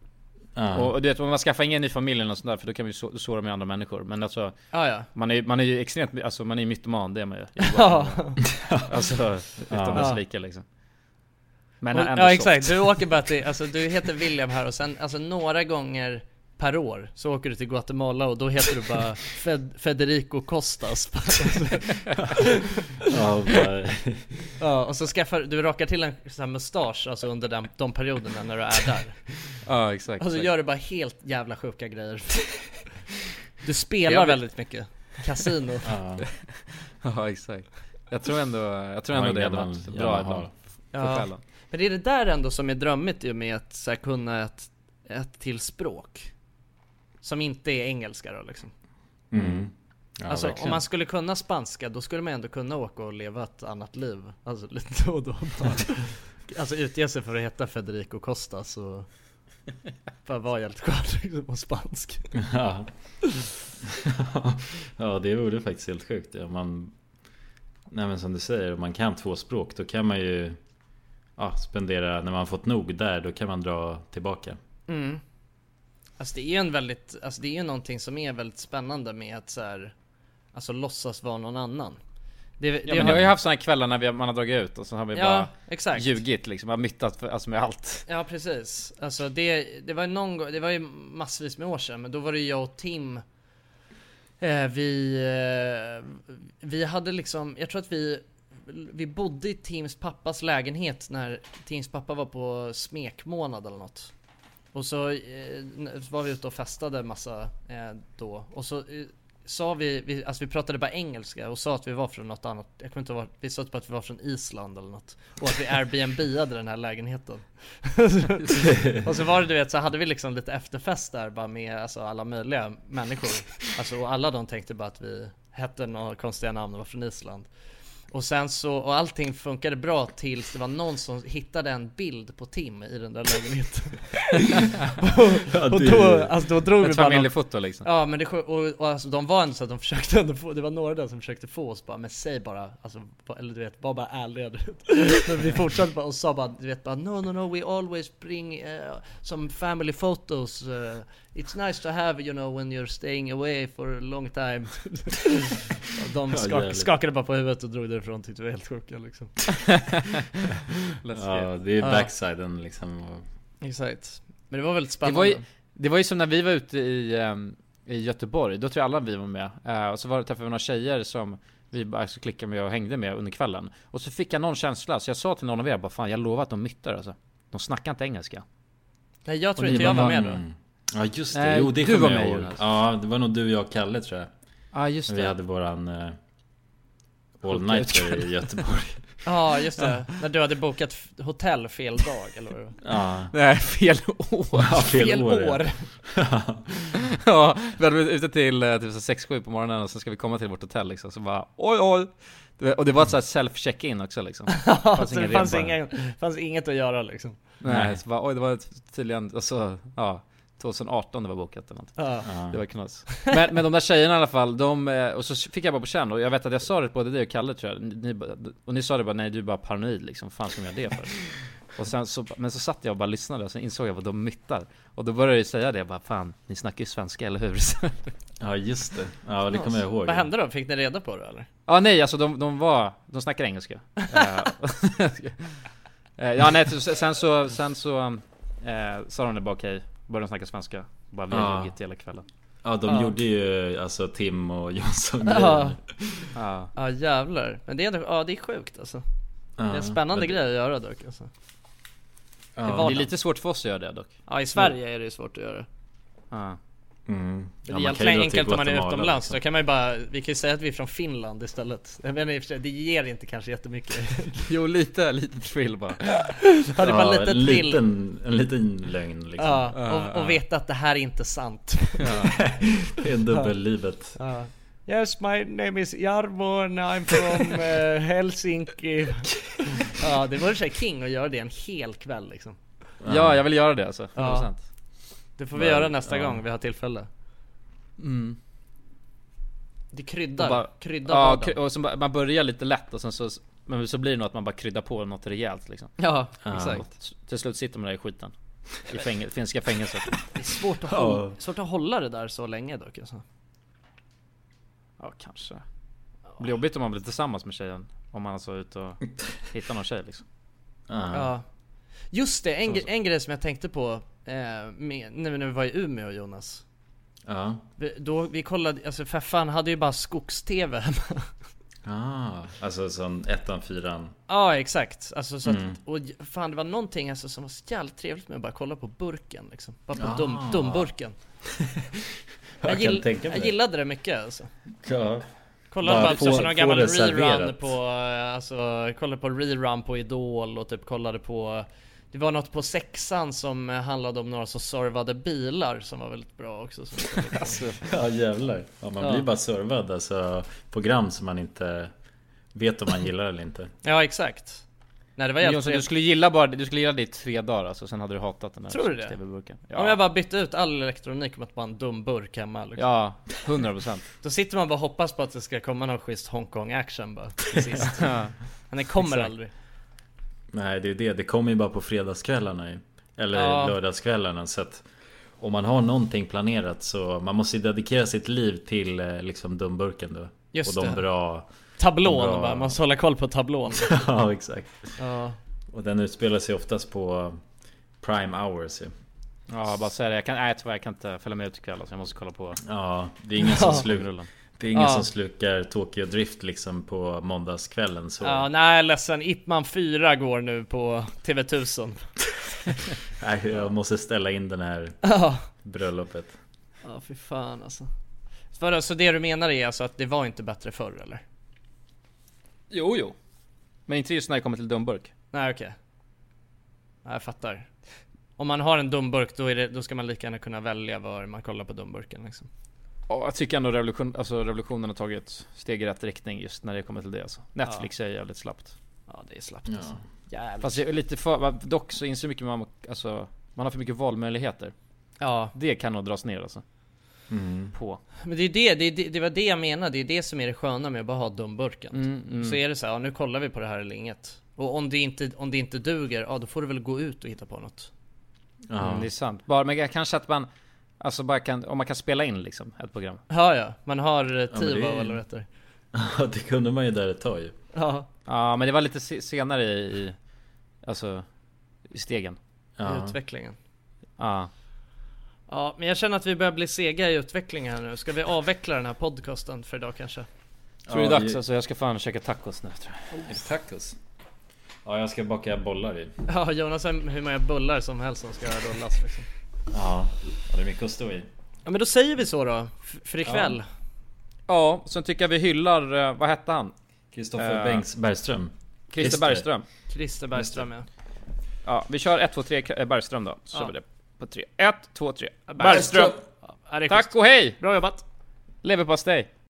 A: Ja.
B: Och, och du vet, man skaffar ingen i familjen och sådär för då kan man ju så, såra med andra människor. Men alltså,
C: Ja, ja.
B: Man, är, man är ju extremt, alltså man är ju mytoman, det är man ju.
C: Ja.
B: alltså, utan dess
C: Ja.
B: like liksom. Men
C: och,
B: ändå
C: ja
B: soft.
C: exakt, du åker bara till, alltså du heter William här och sen, alltså några gånger per år så åker du till Guatemala och då heter du bara Fed, Federico Costas.
A: Ja, bara-
C: ja, och så skaffar du, rakar till en sån här mustasch alltså under den, de perioderna när du är där.
B: Ja exakt.
C: Och så
B: exakt.
C: gör du bara helt jävla sjuka grejer. Du spelar
B: Jag vet-
C: väldigt mycket. Casino.
B: ja exakt. Jag tror ändå, jag tror
A: Ja,
B: ändå det
A: det
B: hade
A: man-
B: varit
A: ja,
B: bra
A: man
B: ibland.
A: har.
B: För
C: Ja.
B: själen.
C: Men det är det där ändå som är drömmigt ju med att så här, kunna ett, ett till språk. Som inte är engelska då liksom.
A: Mm. Ja,
C: alltså
A: verkligen.
C: om man skulle kunna spanska då skulle man ändå kunna åka och leva ett annat liv. Alltså lite då och då. Bara. alltså utge sig för att heta Federico Costa så... Bara vara helt skön liksom, på spansk.
A: Ja. ja, det vore faktiskt helt sjukt. Om man, nej men som du säger, om man kan två språk då kan man ju ja, spendera, när man fått nog där, då kan man dra tillbaka.
C: Mm. Alltså det är ju en väldigt, alltså det är ju någonting som är väldigt spännande med att så här, alltså låtsas vara någon annan. Det, det
B: Ja, men jag har ju haft sådana kvällar när vi, man har dragit ut och så har vi
C: Ja,
B: bara
C: exakt.
B: ljugit liksom, har myttat för, alltså med allt.
C: Ja precis. Alltså det, det var ju någon gång, det var ju massvis med år sedan, men då var det jag och Tim. Eh, vi, eh, vi hade liksom, jag tror att vi, vi bodde i Tims pappas lägenhet när Tims pappa var på smekmånad eller något. Och så eh, n- var vi ute och festade massa eh, då. Och så eh, sa vi, vi, alltså vi pratade bara engelska och sa att vi var från något annat. Jag kommer inte ihåg, vart- vi sa typ att vi var från Island eller något. Och att vi Airbnb-ade den här lägenheten. och så var det du vet, så hade vi liksom lite efterfest där bara med alltså, alla möjliga människor. Alltså, och alla de tänkte bara att vi hette några konstiga namn och var från Island. Och sen så, och allting funkade bra tills det var någon som hittade en bild på Tim i den där lägenheten.
B: Ja,
C: och, och
B: det-
C: då, alltså då drog
B: Ett
C: vi bara någon-
B: familjefoto, liksom.
C: Ja men det sj- och, och alltså de var ändå så att de försökte ändå få, det var några där som försökte få oss bara, men säg bara, alltså, ba- eller du vet, var bara ärliga du vet. Men vi fortsatte bara och sa bara, du vet bara, no no no we always bring eh, some family photos. eh, it's nice to have you know when you're staying away for a long time. Och de
A: Ja,
C: skak,
A: jävligt.
C: skakade bara på huvudet och drog därifrån, tyckte vi var helt sjuka liksom.
A: ja, det är backsiden liksom. Och,
C: Exakt. Men det var väldigt
B: Det
C: spännande.
B: var, ju, det var ju som när vi var ute i, ehm, i Göteborg, då tror jag alla vi var med. Eh, och så var det, träffade vi några tjejer som vi bara alltså, klickade med och hängde med under kvällen. Och så fick jag någon känsla, så jag sa till någon av er bara fan jag lovar att de myttar alltså. De snackar inte engelska.
C: Nej jag tror
B: Och ni
C: inte jag var
B: bara,
C: med då.
A: mm. Ja just det,
B: Nej,
A: jo det
B: du
A: kommer
B: var
A: jag
B: med,
A: ihåg.
B: Jonas.
A: Ja, det var nog du, jag och Kalle tror jag.
B: Ja, just
A: När Vi
B: det.
A: hade våran eh, all
B: Sjuka
A: nighter
B: utkväll.
A: i Göteborg.
C: Ja just det, när du hade bokat f- hotell fel dag eller vad det var.
A: Ja.
B: Nej, fel år.
A: Ja, fel Fel år, ja. år.
B: ja, vi hade varit ute till eh, typ så här 6-7 på morgonen och sen ska vi komma till vårt hotell liksom, så bara oj oj. Du vet, Och det var ett så här self-check-in också liksom. Det
C: Ja, så det
B: ingen
C: fanns,
B: rep bara.
C: inga, fanns inget att göra liksom.
B: Nej, så bara, oj det var tydligen, alltså, ja 2018 det var bokat eller något.
C: Ja.
A: Ja.
B: Det var knas. Men, men de där tjejerna i alla fall, de, eh, och så fick jag bara på känn och jag vet att jag sa det till både dig och Kalle tror jag, ni, bara- och ni sa det bara nej du är bara paranoid liksom, fan ska man göra det för? Och sen så, men så satt jag och bara lyssnade och sen insåg jag vad de myttar. Och då började jag ju säga det, jag bara fan, ni snackar ju svenska eller hur?
A: Ja just det, ja det kommer jag ihåg.
C: Vad hände då? Fick ni reda på det eller?
B: Ja nej alltså de, de var, de snackar engelska. Eh, eh, ja nej så- sen så, sen så eh, sa de det bara okej, började de snacka svenska. Bara vi har
A: Ja.
B: ljugit hela kvällen.
A: Ja de
C: Ja.
A: gjorde ju alltså Tim och Jonsson
C: Ja.
B: Ja.
C: Ja jävlar. Men det är, ändå- ja, det är sjukt alltså. det är
A: Ja,
C: en spännande
A: men- Mm.
C: grej att göra dock alltså.
B: Det,
C: vardagen.
B: är lite svårt för oss att göra det dock.
C: Ja i Sverige är det ju svårt att göra det.
B: Ja.
A: Mm.
C: Det
A: Ja,
C: är
A: man kan ju
C: egentligen
A: dra till
C: enkelt om man är
A: Guatemala,
C: utomlands.
A: liksom.
C: Då kan man ju bara, vi kan ju säga att vi är från Finland istället. Jag menar i och för sig, det ger inte kanske jättemycket.
B: Jo lite, lite thrill bara.
C: Ja, det var
A: Ja,
C: lite
A: en,
C: till.
A: liten, en liten lögn liksom.
C: Ja, och, och veta att det här är inte sant.
A: Det är dubbellivet.
C: Ja. Yes, my name is Jarmo and I'm from eh, Helsinki. ja, det vore så här king att göra det en hel kväll liksom.
B: Ja, jag vill göra det alltså. 100%.
C: Ja. Det får vi
B: Men,
C: göra nästa
B: ja.
C: gång vi har tillfälle.
B: Mm.
C: Det kryddar, kryddar
B: ja, kry-
C: vardagen.
B: och så bara, man börjar lite lätt och sen så, men så blir det nog att man bara kryddar på något rejält liksom.
C: Ja,
A: Ja.
C: exakt.
B: Till slut sitter man där i skiten. I fäng- finska fängelset.
C: Det är svårt att, hålla, svårt att hålla det där så länge dock alltså.
B: Ja, kanske. Det blir jobbigt om man blir tillsammans med tjejen. Om man alltså är ute och hittar någon tjej liksom.
C: Ja. Just det, en, gre- en grej som jag tänkte på eh, med, nu när vi var i Umeå Jonas.
A: Ja.
C: Vi, då, vi kollade, alltså Feffan hade ju bara skogs-tv hemma.
A: Ah, alltså som ettan, fyran.
C: Ja exakt, alltså så att,
A: Mm.
C: och j- fan det var någonting alltså som var så jävla trevligt med att bara kolla på burken liksom. Bara på
A: Ah.
C: dum, dumburken.
A: Jag
C: jag,
A: kan
C: gill,
A: tänka mig
C: jag
A: det.
C: gillade det mycket alltså.
A: Ja.
C: Kollade bara, på, någon gammal
A: det
C: rerun
A: serverat.
C: på, eh, alltså kollade på rerun på Idol och typ kollade på det var något på sexan som eh, handlade om några som servade bilar som var väldigt bra också. Som
A: Alltså, ja jävlar. Ja, man blir bara servad alltså program som man inte vet om man gillar eller inte.
C: Ja exakt. Nej det var
B: Men
C: jävligt
B: Jonsson, du
C: trevligt.
B: skulle gilla bara du skulle gilla det i tre dagar alltså, sen hade du hatat den där
C: Tror du det?
B: TV-burken.
C: Om
B: Ja,
C: jag bara bytte ut all elektronik mot bara en dum burk hemma liksom.
B: ja, 100%.
C: Då sitter man bara och hoppas på att det ska komma någon schysst Hongkong-action bara till sist. Men den kommer
A: Exakt.
C: aldrig.
A: Nej det är ju det. Det kommer ju bara på fredagskvällarna ju. Eller
C: Ja.
A: lördagskvällarna. Så att om man har någonting planerat så man måste ju dedikera sitt liv till eh, liksom dumburken då.
C: Just
A: och de
C: det.
A: bra...
C: Tablån
A: de bra-
C: bara, man måste hålla koll på tablån.
A: ja exakt.
C: Ja.
A: Och den utspelar sig oftast på prime hours ju.
B: Ja, bara säga det. Jag kan, nej tyvärr, jag kan inte följa med ut ikväll alltså, jag måste kolla på...
C: Mm.
A: Ja, det är ingen som,
B: Ja.
A: sluk, det är ingen
B: Ja.
A: som slukar Tokyo Drift liksom på måndagskvällen så...
C: Ja, nej ledsen, Ip Man 4 går nu på TV1000.
A: Nej, jag måste ställa in den här
C: Ja.
A: bröllopet.
C: Ja, fy fan alltså. För, så det du menar är alltså att det var inte bättre förr eller?
J: Jo, jo.
B: Men inte just när det kommer till dumburk.
C: Nej okej. Nej, jag fattar. Om man har en dumburk då, är det, då ska man lika gärna kunna välja var man kollar på dumburken liksom.
B: Ja, jag tycker ändå revolution, alltså revolutionen har tagit steg i rätt riktning just när det kommer till det alltså. Netflix är jävligt slappt.
C: Ja det är slappt
A: Ja.
C: alltså. Jävligt.
B: Fast jag är lite för, dock så inser mycket man, alltså, man har för mycket valmöjligheter.
C: Ja.
B: Det kan nog dras ner alltså.
A: Mm.
B: På.
C: Men det är ju det, det, är det, det var det jag menade, det är det som är det sköna med att bara ha dumburken.
B: mm.
C: Så är det så här, ja, nu kollar vi på det här eller inget. Och om det inte, om det inte duger, ja då får du väl gå ut och hitta på något.
A: Ja.
B: Mm, det är sant. Bara, men kanske att man, alltså bara kan, om man kan spela in liksom ett program.
C: Ja ja, man har eh,
A: Ja, men det
C: Tivo
A: är-
C: eller vad det heter.
A: Ja, det kunde man ju där ett tag ju.
C: Ja.
B: Ja men det var lite se- senare i, i alltså, i stegen.
A: Ja.
C: Utvecklingen.
B: Ja.
C: Ja, men jag känner att vi börjar bli sega i utvecklingen här nu. Ska vi avveckla den här podcasten för idag kanske?
B: Tror det
A: Ja,
B: är dags
A: vi-
B: alltså, jag ska fan käka tacos nu tror jag.
A: Är det tacos? Ja, jag ska baka bollar i.
C: Ja, Jonas har hur många bullar som helst som ska rullas liksom.
A: Ja, ja, det är mycket att stå i.
C: Ja men då säger vi så då, f- för ikväll.
B: Ja, sen tycker jag vi hyllar, eh, vad hette han?
A: Kristoffer
B: Eh,
A: Bengts Bergström.
B: Christer Bergström.
C: Christer Bergström ja.
B: Ja, vi kör 1, 2, 3 K- eh, Bergström då. Så
C: Ja.
B: kör vi det på 3. 1, 2, 3
C: Bergström.
B: Bergström!
C: Ja, det är
B: Tack
C: schysst.
B: och hej!
C: Bra jobbat!
B: Leverpastej!